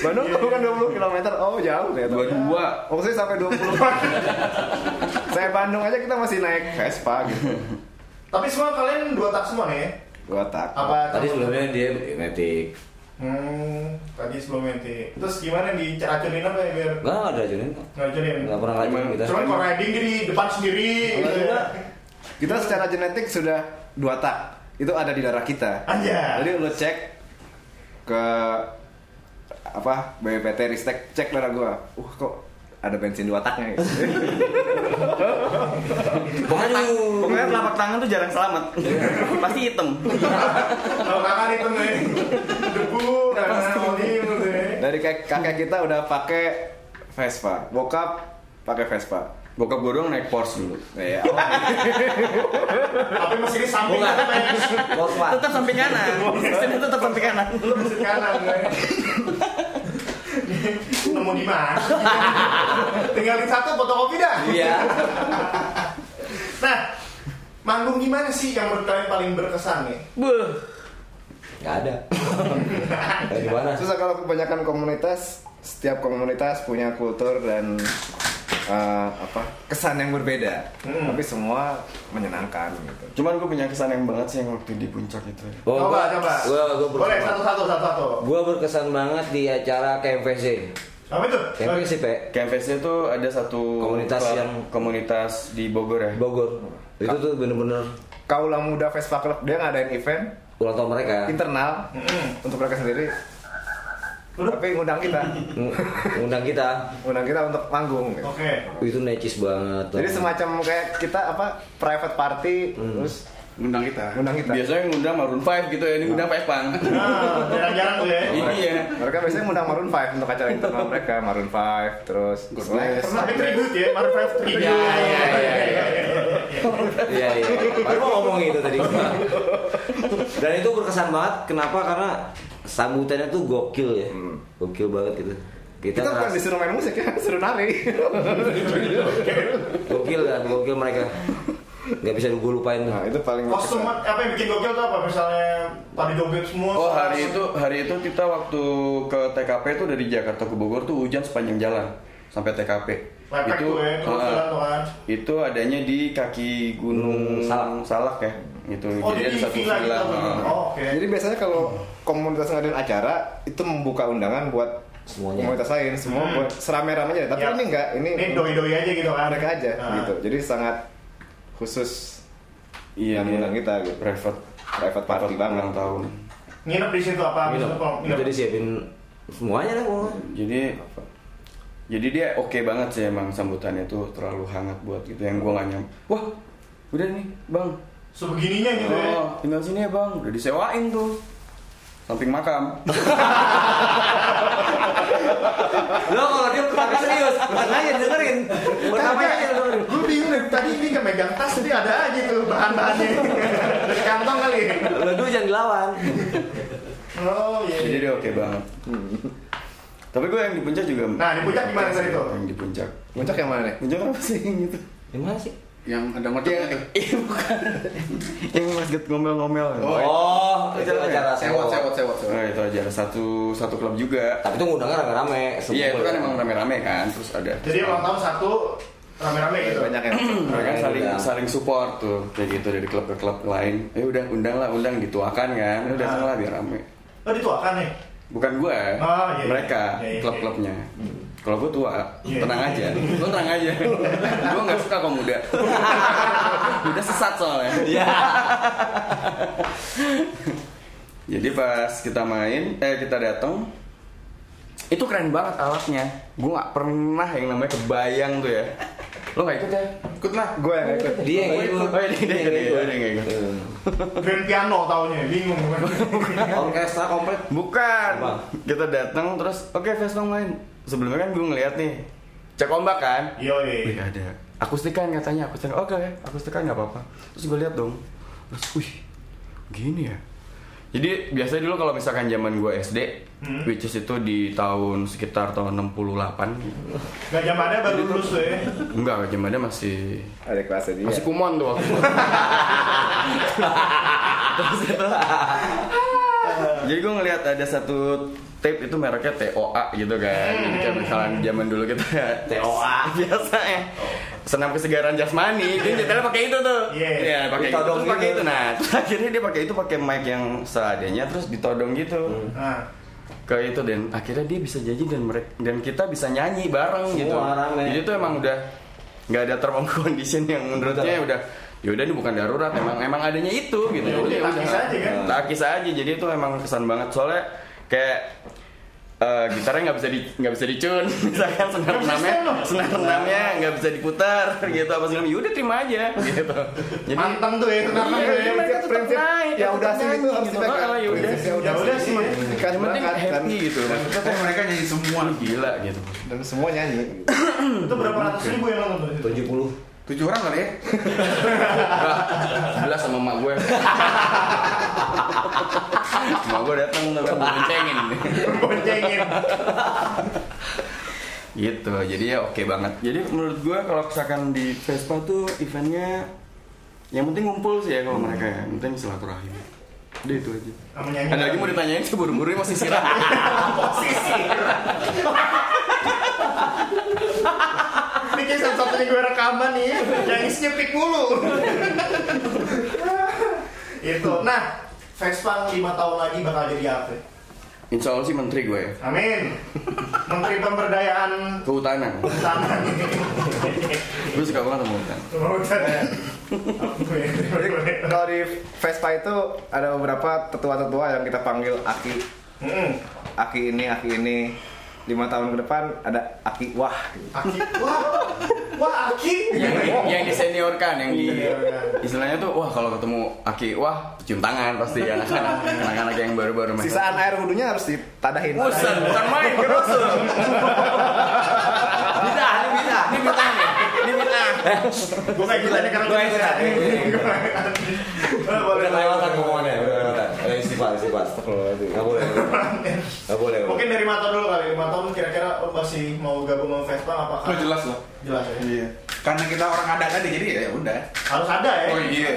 Speaker 5: Bandung bukan 20 km. Oh, jauh ternyata.
Speaker 4: Dua-dua.
Speaker 5: Maksudnya sampai 20. Saya Bandung aja kita masih naik Vespa gitu.
Speaker 3: Tapi semua kalian dua tak semua nih ya?
Speaker 5: Dua tak.
Speaker 3: Apa?
Speaker 6: Tadi sebelumnya dia metik.
Speaker 3: Hmm, tadi sebelum nanti. Terus gimana diceracunin apa ya biar
Speaker 6: Enggak ada racunin kok.
Speaker 3: ngeracunin?
Speaker 6: Enggak pernah gitu. racun kita.
Speaker 3: Cuman kalau riding di depan sendiri. gitu ya.
Speaker 5: Kita secara genetik sudah dua tak. Itu ada di darah kita.
Speaker 3: Anjay.
Speaker 5: Jadi lu cek ke apa BPPT Ristek cek darah gua. Uh kok ada bensin dua taknya ya?
Speaker 4: Pokoknya, pokoknya telapak tangan tuh jarang selamat. Pasti hitam.
Speaker 3: Kalau kakak nih temen debu, karena mau diem gitu ya.
Speaker 5: Dari kak- kakek kita udah pakai Vespa. Bokap pakai Vespa.
Speaker 4: Bokap gue doang naik Porsche dulu. Eh,
Speaker 5: Ya,
Speaker 3: Tapi mesinnya samping
Speaker 6: Bukan.
Speaker 3: kan pengen
Speaker 6: Volkswagen.
Speaker 4: Tetap samping kanan. Mesinnya tetap samping kanan.
Speaker 3: lu mesin kanan gue. Nemu di mana? Tinggalin satu fotokopi dah.
Speaker 6: Ya.
Speaker 4: Iya.
Speaker 3: Nah, manggung gimana sih yang menurut kalian paling berkesan nih?
Speaker 4: Beuh.
Speaker 6: Enggak ada. Kayak gimana?
Speaker 5: Susah kalau kebanyakan komunitas, setiap komunitas punya kultur dan eh, apa kesan yang berbeda. Tapi semua menyenangkan gitu.
Speaker 4: Cuman gue punya kesan yang banget sih yang waktu di puncak itu.
Speaker 6: Gua-
Speaker 3: Coba,
Speaker 6: gua-
Speaker 3: coba.
Speaker 6: Gua gua
Speaker 3: Boleh
Speaker 6: berkesan.
Speaker 3: satu satu satu satu.
Speaker 6: Gua berkesan banget di acara KMVC.
Speaker 3: Apa itu?
Speaker 6: KMVC Pe
Speaker 4: Campesnya tuh ada satu
Speaker 6: Komunitas
Speaker 4: klub-
Speaker 6: yang-
Speaker 4: komunitas di Bogor ya.
Speaker 6: Bogor. Itu tuh bener-bener
Speaker 5: Kaula Muda Vespa Club dia ngadain event
Speaker 6: ulang tahun mereka.
Speaker 5: internal
Speaker 3: Hmm.
Speaker 5: untuk mereka sendiri. Tapi ngundang kita,
Speaker 6: Ng- Ngundang kita.
Speaker 5: ngundang kita untuk manggung. Gitu.
Speaker 3: Oke.
Speaker 6: Itu necis banget.
Speaker 5: Jadi semacam kayak kita apa private party terus
Speaker 7: Undang kita.
Speaker 5: ngundang kita.
Speaker 4: Biasanya ngundang Maroon 5 gitu ya, ini ngundang Pepang.
Speaker 3: Nah, jarang-jarang tuh ya.
Speaker 4: Iya.
Speaker 5: Mereka biasanya ngundang Maroon 5 untuk acara internal mereka, Maroon 5 terus Slank.
Speaker 3: Pernah di tribute ya, Maroon 5 tribute.
Speaker 6: Iya, iya, iya, iya. Iya iya. Baru mau ngomong itu tadi. Dan itu berkesan banget. Kenapa? Karena sambutannya tuh gokil ya. Gokil banget gitu. Kita,
Speaker 5: Kita bukan
Speaker 6: ngerasa-
Speaker 5: disuruh main musik ya, disuruh nari.
Speaker 6: gokil kan, gokil mereka. Gak bisa gue lupain tuh.
Speaker 5: Nah, itu paling
Speaker 3: Kostum
Speaker 5: berkesan.
Speaker 3: apa yang bikin gokil tuh apa? Misalnya tadi joget semua.
Speaker 4: Oh hari itu hari itu kita waktu ke TKP itu dari Jakarta ke Bogor tuh hujan sepanjang jalan sampai TKP.
Speaker 3: Lepek
Speaker 4: itu
Speaker 3: tuh ya,
Speaker 4: eh,
Speaker 3: kebetulan tuh kan.
Speaker 4: itu adanya di kaki Gunung
Speaker 5: Hmm,
Speaker 6: Salak.
Speaker 4: Salak ya. Itu
Speaker 3: Oh, jadi villa gitu. Oh, oke.
Speaker 5: Jadi biasanya kalau komunitas ngadain acara itu membuka undangan buat
Speaker 6: Semuanya.
Speaker 5: komunitas lain, semua buat serame-ramenya. Tapi
Speaker 3: Hmm. Ya.
Speaker 5: ini enggak, ini,
Speaker 3: Ini doi-doi aja gitu kan.
Speaker 5: mereka aja
Speaker 3: Nah.
Speaker 5: gitu. Jadi sangat khusus
Speaker 4: Iya,
Speaker 5: yang ngundang kita gitu.
Speaker 4: private
Speaker 5: Private party
Speaker 4: ulang
Speaker 5: banget.
Speaker 4: tahun.
Speaker 3: Nginep di situ apa?
Speaker 6: Gitu.
Speaker 3: Misalnya kalau nginep.
Speaker 6: Itu disiapin semuanya lah pokoknya.
Speaker 4: Jadi jadi dia oke banget sih emang sambutannya tuh terlalu hangat buat gitu yang gua gak nyam. Wah, udah nih, Bang.
Speaker 3: Sebegininya gitu ya.
Speaker 4: Oh, tinggal sini ya bang, udah disewain tuh Samping makam
Speaker 6: Lo kalau dia pakai serius, makanya dengerin. Pertamanya dia dengerin.
Speaker 3: Gue bingung deh, tadi ini nggak megang tas, tapi ada aja tuh bahan-bahannya Dari kantong kali
Speaker 6: Lo dulu jangan dilawan.
Speaker 3: Oh iya
Speaker 4: Jadi dia oke banget Tapi gue yang di puncak juga
Speaker 3: Nah, di puncak gimana tadi tuh?
Speaker 4: Yang di puncak
Speaker 5: Puncak yang mana nih?
Speaker 4: Puncak apa sih yang gitu?
Speaker 6: Gimana sih?
Speaker 7: Yang ada gitu? motornya tuh.
Speaker 4: Iya bukan Yang mas Get ngomel-ngomel
Speaker 7: Oh,
Speaker 6: Oh, itu
Speaker 4: Iya,
Speaker 6: acara
Speaker 7: Sewot, sewot, sewot, sewot.
Speaker 4: Nah itu aja, ada satu, satu klub juga
Speaker 6: Tapi tuh ngundangnya rame-rame. semua.
Speaker 4: Iya itu kan emang rame-rame kan Terus ada
Speaker 3: Jadi ulang tahun satu, rame-rame gitu
Speaker 5: Banyak yang
Speaker 4: mereka kan
Speaker 7: Iya,
Speaker 6: Rame-rame
Speaker 4: saling
Speaker 6: udah.
Speaker 4: saling support tuh kayak gitu dari klub ke klub lain. Eh udah undang lah undang dituakan kan. Udah datang lah biar rame.
Speaker 3: Oh dituakan nih?
Speaker 4: Bukan gue,
Speaker 3: Oh, iya,
Speaker 4: mereka
Speaker 3: iya, iya,
Speaker 4: klub-klubnya. Kalau gue tua,
Speaker 3: Iya.
Speaker 4: tenang aja. Lo tenang aja. gue nggak suka kalau muda. muda sesat soalnya. Jadi pas kita main, eh kita datang, itu keren banget alatnya. Gue nggak pernah yang namanya kebayang tuh ya. Lo nggak ikut ya?
Speaker 7: Ikut lah.
Speaker 5: Gue yang ikut.
Speaker 6: Dia yang
Speaker 4: Oh,
Speaker 6: ikut.
Speaker 4: iya, dia yang ikut. Iya, Dia yang ikut.
Speaker 3: Grand piano taunya, bingung
Speaker 6: Iya. Orkestra komplit.
Speaker 4: Bukan.
Speaker 6: Apa?
Speaker 4: Kita datang terus, oke Vespa main. Sebelumnya kan gue ngeliat nih, cek ombak kan. Wih
Speaker 3: Yoi
Speaker 4: ada akustikan katanya akustikan oke akustikan nggak apa-apa terus gue lihat dong terus wih gini ya Jadi biasanya dulu kalau misalkan zaman gue SD, which is itu di tahun sekitar tahun 68.
Speaker 3: Gak zamannya baru lulus tuh ya.
Speaker 4: Enggak, zamannya masih
Speaker 5: Ada kelasnya dia.
Speaker 4: masih kumon tuh waktu itu. Terus itu, Jadi gue ngelihat ada satu tape itu mereknya TOA gitu kan. Jadi kayak misalkan zaman dulu kita TOA biasa ya. Senam kesegaran jasmani, dia nyetelnya pakai itu tuh.
Speaker 3: Iya.
Speaker 4: Iya, pakai itu,
Speaker 6: Ditodong
Speaker 4: terus pakai
Speaker 6: gitu.
Speaker 4: itu. Nah, terus akhirnya dia pakai itu pakai mic yang seadanya terus ditodong gitu.
Speaker 3: Nah,
Speaker 4: Kayak itu dan akhirnya dia bisa jadi dan mereka dan kita bisa nyanyi bareng
Speaker 6: Semua
Speaker 4: gitu.
Speaker 6: rame.
Speaker 4: Jadi itu emang udah nggak ada term and condition yang menurutnya udah ya udah ini bukan darurat emang emang adanya itu gitu.
Speaker 3: Ya udah, takis aja kan?
Speaker 4: Takis aja. Jadi itu emang kesan banget soalnya kayak eh, gitarnya nggak bisa di nggak bisa dicun misalkan senar
Speaker 3: Nggak bisa
Speaker 4: enamnya
Speaker 3: setel loh.
Speaker 4: senar enamnya nggak bisa diputar gitu apa segala ya udah terima aja gitu jadi Iya,
Speaker 3: manteng tuh ya, karena tuh ya.
Speaker 5: prinsip, ya udah sih itu harus dipegang.
Speaker 4: Oh, ya udah
Speaker 5: Prinsip,
Speaker 4: sih.
Speaker 5: ya
Speaker 3: gitu. Ya udah sih.
Speaker 5: Kan
Speaker 4: Yang penting
Speaker 5: berangkat kan
Speaker 4: happy gitu maksudnya
Speaker 7: Tapi mereka jadi semua
Speaker 4: gila gitu
Speaker 5: dan semua nyanyi. gitu.
Speaker 3: Itu berapa ratus ribu yang nonton tuh?
Speaker 6: 70
Speaker 7: tujuh orang kali ya
Speaker 4: sebelah sama emak gue emak gue datang tuh kan boncengin
Speaker 3: Boncengin.
Speaker 4: gitu jadi ya oke banget jadi menurut gue kalau misalkan di Vespa tuh eventnya yang penting ngumpul sih ya kalau mereka ya yang penting silaturahim udah itu aja
Speaker 3: Sama nyanyi.
Speaker 4: ada lagi mau ditanyain sih buru-buru ini masih istirahat
Speaker 3: Posisi. Ini kayak satu-satunya gue rekaman nih, yang isinya pik mulu. Itu. Nah, Vespa 5 tahun lagi bakal jadi apa?
Speaker 4: insya Allah sih menteri gue ya
Speaker 3: Amin. Menteri Pemberdayaan
Speaker 4: kehutanan
Speaker 3: Tanah.
Speaker 4: gue suka banget sama hutan
Speaker 3: Eh.
Speaker 5: Jadi kalau di Vespa itu ada beberapa tetua-tetua yang kita panggil Aki.
Speaker 3: Hmm.
Speaker 5: Aki ini, Aki ini. Lima tahun ke depan ada Aki Wah.
Speaker 3: Aki. Wah, wah Aki.
Speaker 4: yang, di- yang diseniorkan yang di
Speaker 3: Iya, iya.
Speaker 4: istilahnya tuh wah kalau ketemu aki wah cium tangan pasti anak-anak anak-anak yang baru-baru main
Speaker 5: Sisaan air wudhunya harus ditadahin.
Speaker 4: Musen, bukan main, kerusun.
Speaker 6: Bidah, ini bidah
Speaker 4: Ini bintang nih, ini bintang.
Speaker 3: Gue kayak gila nih karena
Speaker 6: Gue yang
Speaker 3: bisa. Boleh,
Speaker 6: Udah lewatan
Speaker 3: iya, boleh.
Speaker 6: pokoknya, udah lewatan Udah istighfar, istighfar Gak boleh, gak boleh. gak boleh gak boleh.
Speaker 3: Mungkin dari Maton dulu kali, Maton kira-kira lo masih mau gabung sama Vespa apakah?
Speaker 7: oh jelas lah
Speaker 3: Jelas ya?
Speaker 7: iya karena kita orang ada ada jadi ya udah
Speaker 3: Harus ada ya?
Speaker 7: oh iya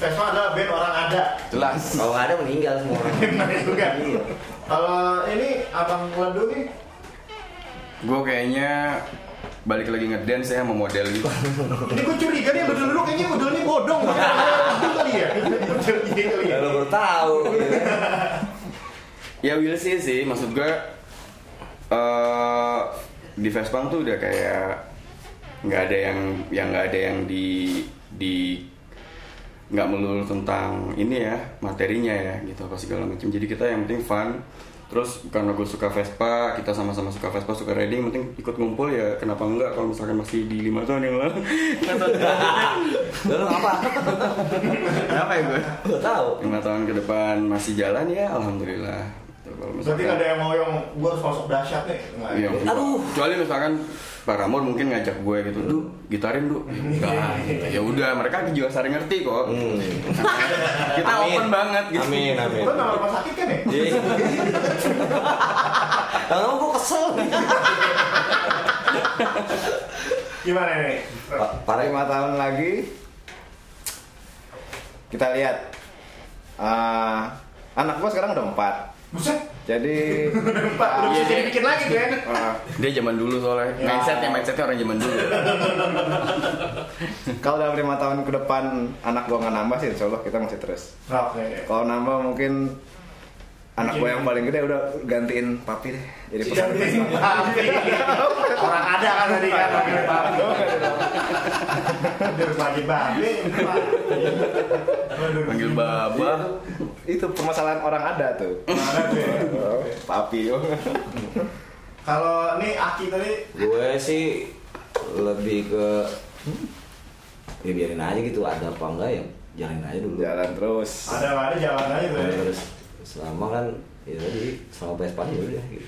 Speaker 3: Vespa adalah band orang ada
Speaker 4: Jelas.
Speaker 6: Kalau nggak ada meninggal semua orang
Speaker 3: Benar juga
Speaker 6: Iya.
Speaker 3: kan? Kalau ini Abang Ledu nih
Speaker 4: Gue kayaknya balik lagi ngedance ya sama model gitu.
Speaker 3: Ini gue curiga nih Abang Ledu kayaknya modelnya bodong Ledu kali ya? Gua Curiga kali
Speaker 6: Ya
Speaker 3: ya?
Speaker 6: lo baru tahu. gitu.
Speaker 4: ya will see sih, maksud gue eh di Vespang tuh udah kayak nggak ada yang yang nggak ada yang di di nggak melulu tentang ini ya materinya ya gitu apa segala macam jadi kita yang penting fun terus karena gue suka Vespa kita sama-sama suka Vespa suka riding yang penting ikut ngumpul ya kenapa enggak kalau misalkan masih di lima tahun yang lalu
Speaker 6: Lo apa?
Speaker 4: kenapa ya gue
Speaker 6: Gak tahu.
Speaker 4: lima tahun ke depan masih jalan ya alhamdulillah Gitu, kalau
Speaker 3: Berarti
Speaker 4: misalkan-
Speaker 3: nggak ada yang mau yang gue harus masuk dahsyat nih Nggak ada.
Speaker 4: Iya, mungkin.
Speaker 6: Aduh.
Speaker 4: Kecuali misalkan Pak Ramon mungkin ngajak gue gitu, duh gitarin duh. Enggak. Ya udah, mereka juga sering ngerti kok. Kita
Speaker 6: Hmm. Amin.
Speaker 4: open banget gitu.
Speaker 6: Amin, amin.
Speaker 3: Lo nama rumah sakit kan ya?
Speaker 6: Iya. Kalau gue kesel.
Speaker 3: Gimana nih?
Speaker 5: Para lima tahun lagi kita lihat Ah, anak gua sekarang udah empat.
Speaker 3: Buset
Speaker 5: Jadi
Speaker 3: Pak, udah bisa jadi bikin lagi kan?
Speaker 5: ah,
Speaker 4: Dia zaman dulu soalnya.
Speaker 5: Ya.
Speaker 4: Mindsetnya mindsetnya orang zaman dulu.
Speaker 5: kalau dalam lima tahun ke depan anak gua nggak nambah sih, insya Allah kita masih terus.
Speaker 3: Oke
Speaker 5: Kalau nambah mungkin anak gue yang paling gede udah gantiin papi deh. Jadi pesan
Speaker 3: Orang ada kan tadi kan panggil babi. Udah panggil babi. Aduh,
Speaker 4: Panggil baba.
Speaker 5: itu permasalahan orang ada tuh.
Speaker 3: gimana tuh ya?
Speaker 5: papi. oh.
Speaker 3: Kalau nih Aki tadi
Speaker 6: Gue sih lebih ke hmm, ya biarin aja gitu ada apa enggak ya jalanin aja dulu.
Speaker 5: Jalan terus.
Speaker 3: ada ada jalan aja tuh ya.
Speaker 6: Terus selama kan ya tadi selama Vespa ya udah gitu.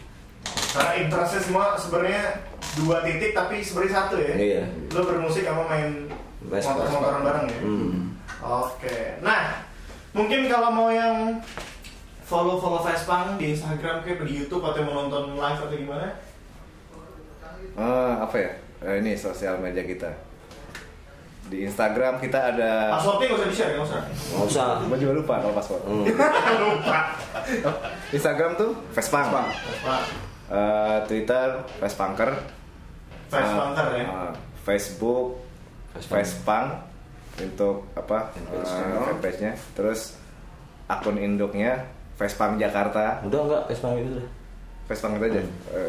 Speaker 3: Karena interestnya semua sebenarnya dua titik tapi sebenarnya satu ya.
Speaker 6: Iya.
Speaker 3: Lo bermusik sama main
Speaker 6: Vespa.
Speaker 3: motor-motoran bareng ya.
Speaker 6: Hmm.
Speaker 3: Oke. Nah, mungkin kalau mau yang follow follow Vespa di Instagram kayak di YouTube atau mau nonton live atau gimana?
Speaker 5: Eh, apa ya? Eh, ini sosial media kita. Di Instagram kita ada
Speaker 3: Passwordnya nggak usah di share, nggak usah.
Speaker 8: Nggak usah.
Speaker 5: Gua juga lupa kalau password.
Speaker 3: Lupa.
Speaker 5: Hmm. Instagram tuh Vespang.
Speaker 3: Vespa,
Speaker 5: Eh, Twitter Vespanker.
Speaker 3: Vespa ntar ya.
Speaker 5: Eh, Facebook Vespang untuk apa? eh, fanpage-nya. Terus akun induknya Vespang Jakarta.
Speaker 8: Udah enggak Vespa
Speaker 6: gitu
Speaker 8: itu udah.
Speaker 5: Vespang itu aja eh,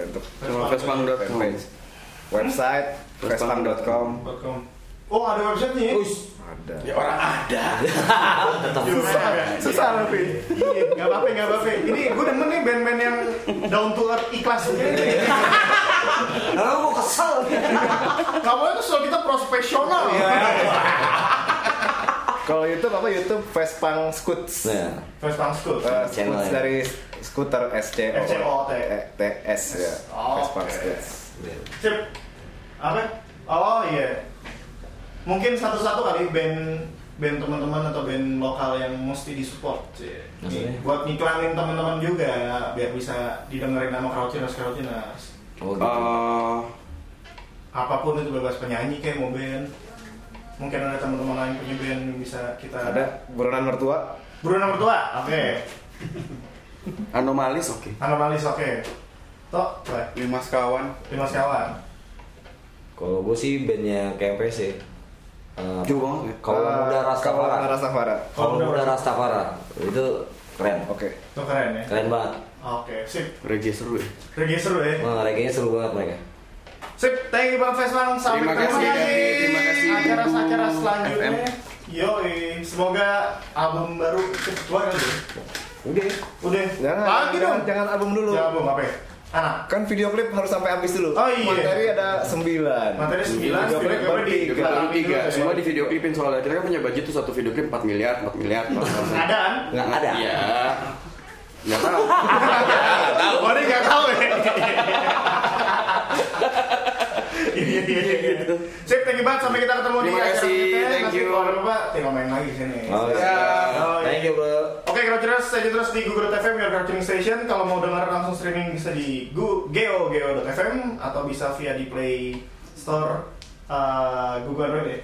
Speaker 5: untuk
Speaker 4: Cuma Vespang.com.
Speaker 5: fanpage. Website vespang.com
Speaker 3: Vespang.com. Oh ada websitenya ya?
Speaker 5: ada.
Speaker 4: Ya orang ada.
Speaker 3: Susah,
Speaker 5: susah, tapi.
Speaker 3: Iya, nggak apa-apa, nggak apa-apa. Ini gue demen nih band-band yang down to earth ikhlas begini.
Speaker 8: Kalau mau kesel.
Speaker 3: Kamu itu soal kita profesional.
Speaker 5: Iya.
Speaker 3: ya.
Speaker 5: Kalau YouTube apa YouTube Vespang Scoots.
Speaker 6: ya.
Speaker 8: Nah,
Speaker 3: Vespa School.
Speaker 5: Eh,
Speaker 8: Channel
Speaker 5: Scoots
Speaker 8: ya.
Speaker 5: dari skuter SCO
Speaker 3: SCOT.
Speaker 5: TS ya
Speaker 3: Oh,
Speaker 5: Vespa
Speaker 3: oke.
Speaker 5: Scoots
Speaker 3: Sip. Apa? Oh iya. Mungkin satu-satu kali band band teman-teman atau band lokal yang mesti disupport. Cie.
Speaker 8: Maksudnya?
Speaker 3: Nih, buat ngiklanin teman-teman juga biar bisa didengerin nama Krautiners Krautiners.
Speaker 8: oh gitu.
Speaker 4: Eh,
Speaker 3: Apapun itu bebas penyanyi kayak mau band. Mungkin ada teman-teman lain punya band yang bisa kita
Speaker 5: ada buronan mertua
Speaker 3: Bruno Mertua. Oke.
Speaker 4: anomalis oke.
Speaker 3: Anomalis oke. Tok, boleh.
Speaker 9: Lima sekawan.
Speaker 3: Lima sekawan.
Speaker 8: Kalau gue sih bandnya KMPC. Eh,
Speaker 4: Jauh banget ya.
Speaker 8: Kalau
Speaker 5: Eh,
Speaker 8: muda Rastafara.
Speaker 5: Kawalan Muda Rastafara.
Speaker 8: Kalau muda Rastafara itu keren.
Speaker 5: oke
Speaker 3: Itu keren
Speaker 6: Iya.
Speaker 3: ya.
Speaker 8: Keren banget.
Speaker 3: Oke, sip.
Speaker 4: Regia seru ya.
Speaker 3: Reggae seru ya.
Speaker 8: Wah, reggae seru banget mereka.
Speaker 3: Sip, thank you Bang Fesman. Sampai
Speaker 4: Terima
Speaker 3: ketemu
Speaker 4: kasih,
Speaker 3: lagi.
Speaker 4: terima kasih.
Speaker 3: Acara-acara selanjutnya. Yoi, semoga album baru cepat keluar kali ya.
Speaker 8: Udah.
Speaker 3: Udah.
Speaker 5: jangan
Speaker 3: Lagi
Speaker 5: jangan,
Speaker 3: dong.
Speaker 5: jangan album dulu
Speaker 3: Jangan album apa ya? Anak.
Speaker 5: kan video klip harus sampai habis dulu
Speaker 3: Oh, iya.
Speaker 5: materi ada sembilan
Speaker 3: Materi sembilan,
Speaker 5: video klip
Speaker 3: video
Speaker 5: baru
Speaker 3: klip
Speaker 5: tiga.
Speaker 3: Kita baru
Speaker 4: Kita
Speaker 3: ambil dulu
Speaker 4: tiga,
Speaker 3: ya.
Speaker 4: semua di video klipin soalnya kita kan punya budget tuh satu video klip 4 miliar, 4 miliar. 4 miliar.
Speaker 3: Ada kan?
Speaker 8: Nggak ada.
Speaker 4: Iya. Nggak tahu.
Speaker 3: Tahu. Oh, dia nggak tahu ya. Iya, iya, iya. Sip, thank you banget. Sampai kita ketemu di
Speaker 4: Terima
Speaker 3: acara
Speaker 4: kasih,
Speaker 3: berikutnya.
Speaker 4: thank
Speaker 3: Nanti
Speaker 4: you.
Speaker 3: kalau ada apa-apa, tinggal main lagi sini.
Speaker 8: Oh, iya.
Speaker 3: Ya. Oh, iya.
Speaker 8: Thank you, bro.
Speaker 3: Oke, Crouchers, saya terus di Google TV, Your Crouching Station. Kalau mau dengar langsung streaming bisa di Gu- Geo, Geo.fm atau bisa via di Play Store uh, Google Android ya.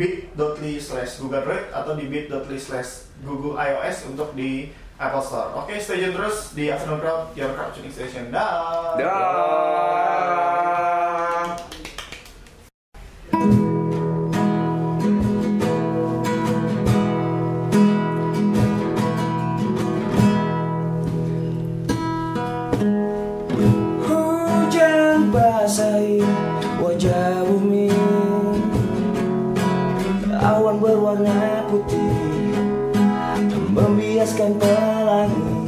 Speaker 3: bit.ly slash Google Android atau di bit.ly slash Google iOS untuk di Apple Store. Oke, stay tune terus di Afternoon Crowd, Your Crouching Station. Dah.
Speaker 4: Dah.
Speaker 6: Hujan basahi wajah bumi Awan berwarna putih Membiaskan pelangi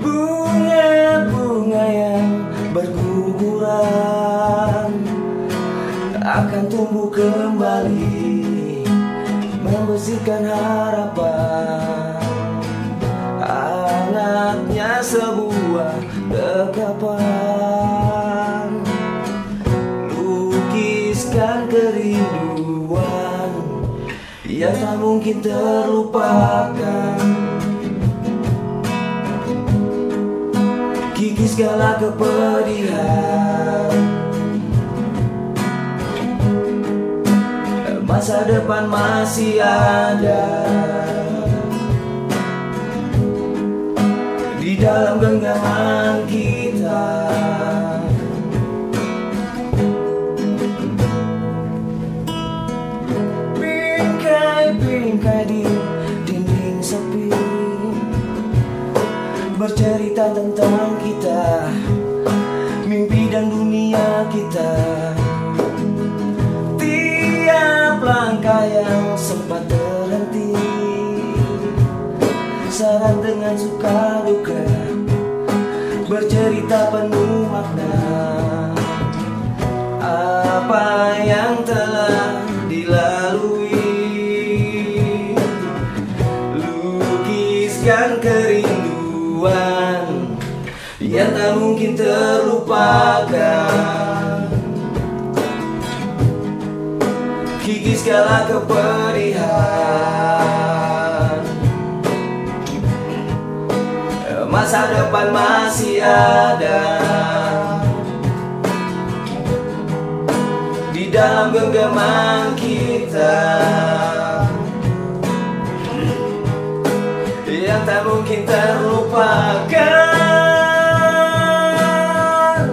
Speaker 6: Bunga-bunga yang berguguran Akan tumbuh kembali Membersihkan harapan hangatnya sebuah dekapan lukiskan kerinduan yang tak mungkin terlupakan gigi segala kepedihan masa depan masih ada di dalam genggaman kita Bingkai-bingkai di dinding sepi Bercerita tentang kita Mimpi dan dunia kita Tiap langkah yang sempat terhenti Saran dengan suka duka Bercerita penuh makna Apa yang telah dilalui Lukiskan kerinduan Yang tak mungkin terlupakan Gigi segala kepedihan Eh, masa depan masih ada di dalam genggaman kita yang tak mungkin terlupakan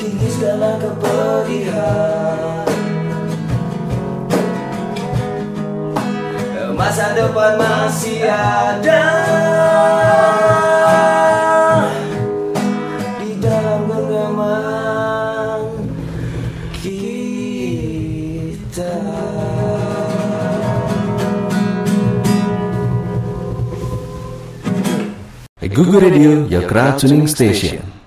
Speaker 6: kini segala kepedihan Masa depan masih ada Di dalam genggaman kita
Speaker 10: Google Radio, your crowd tuning station.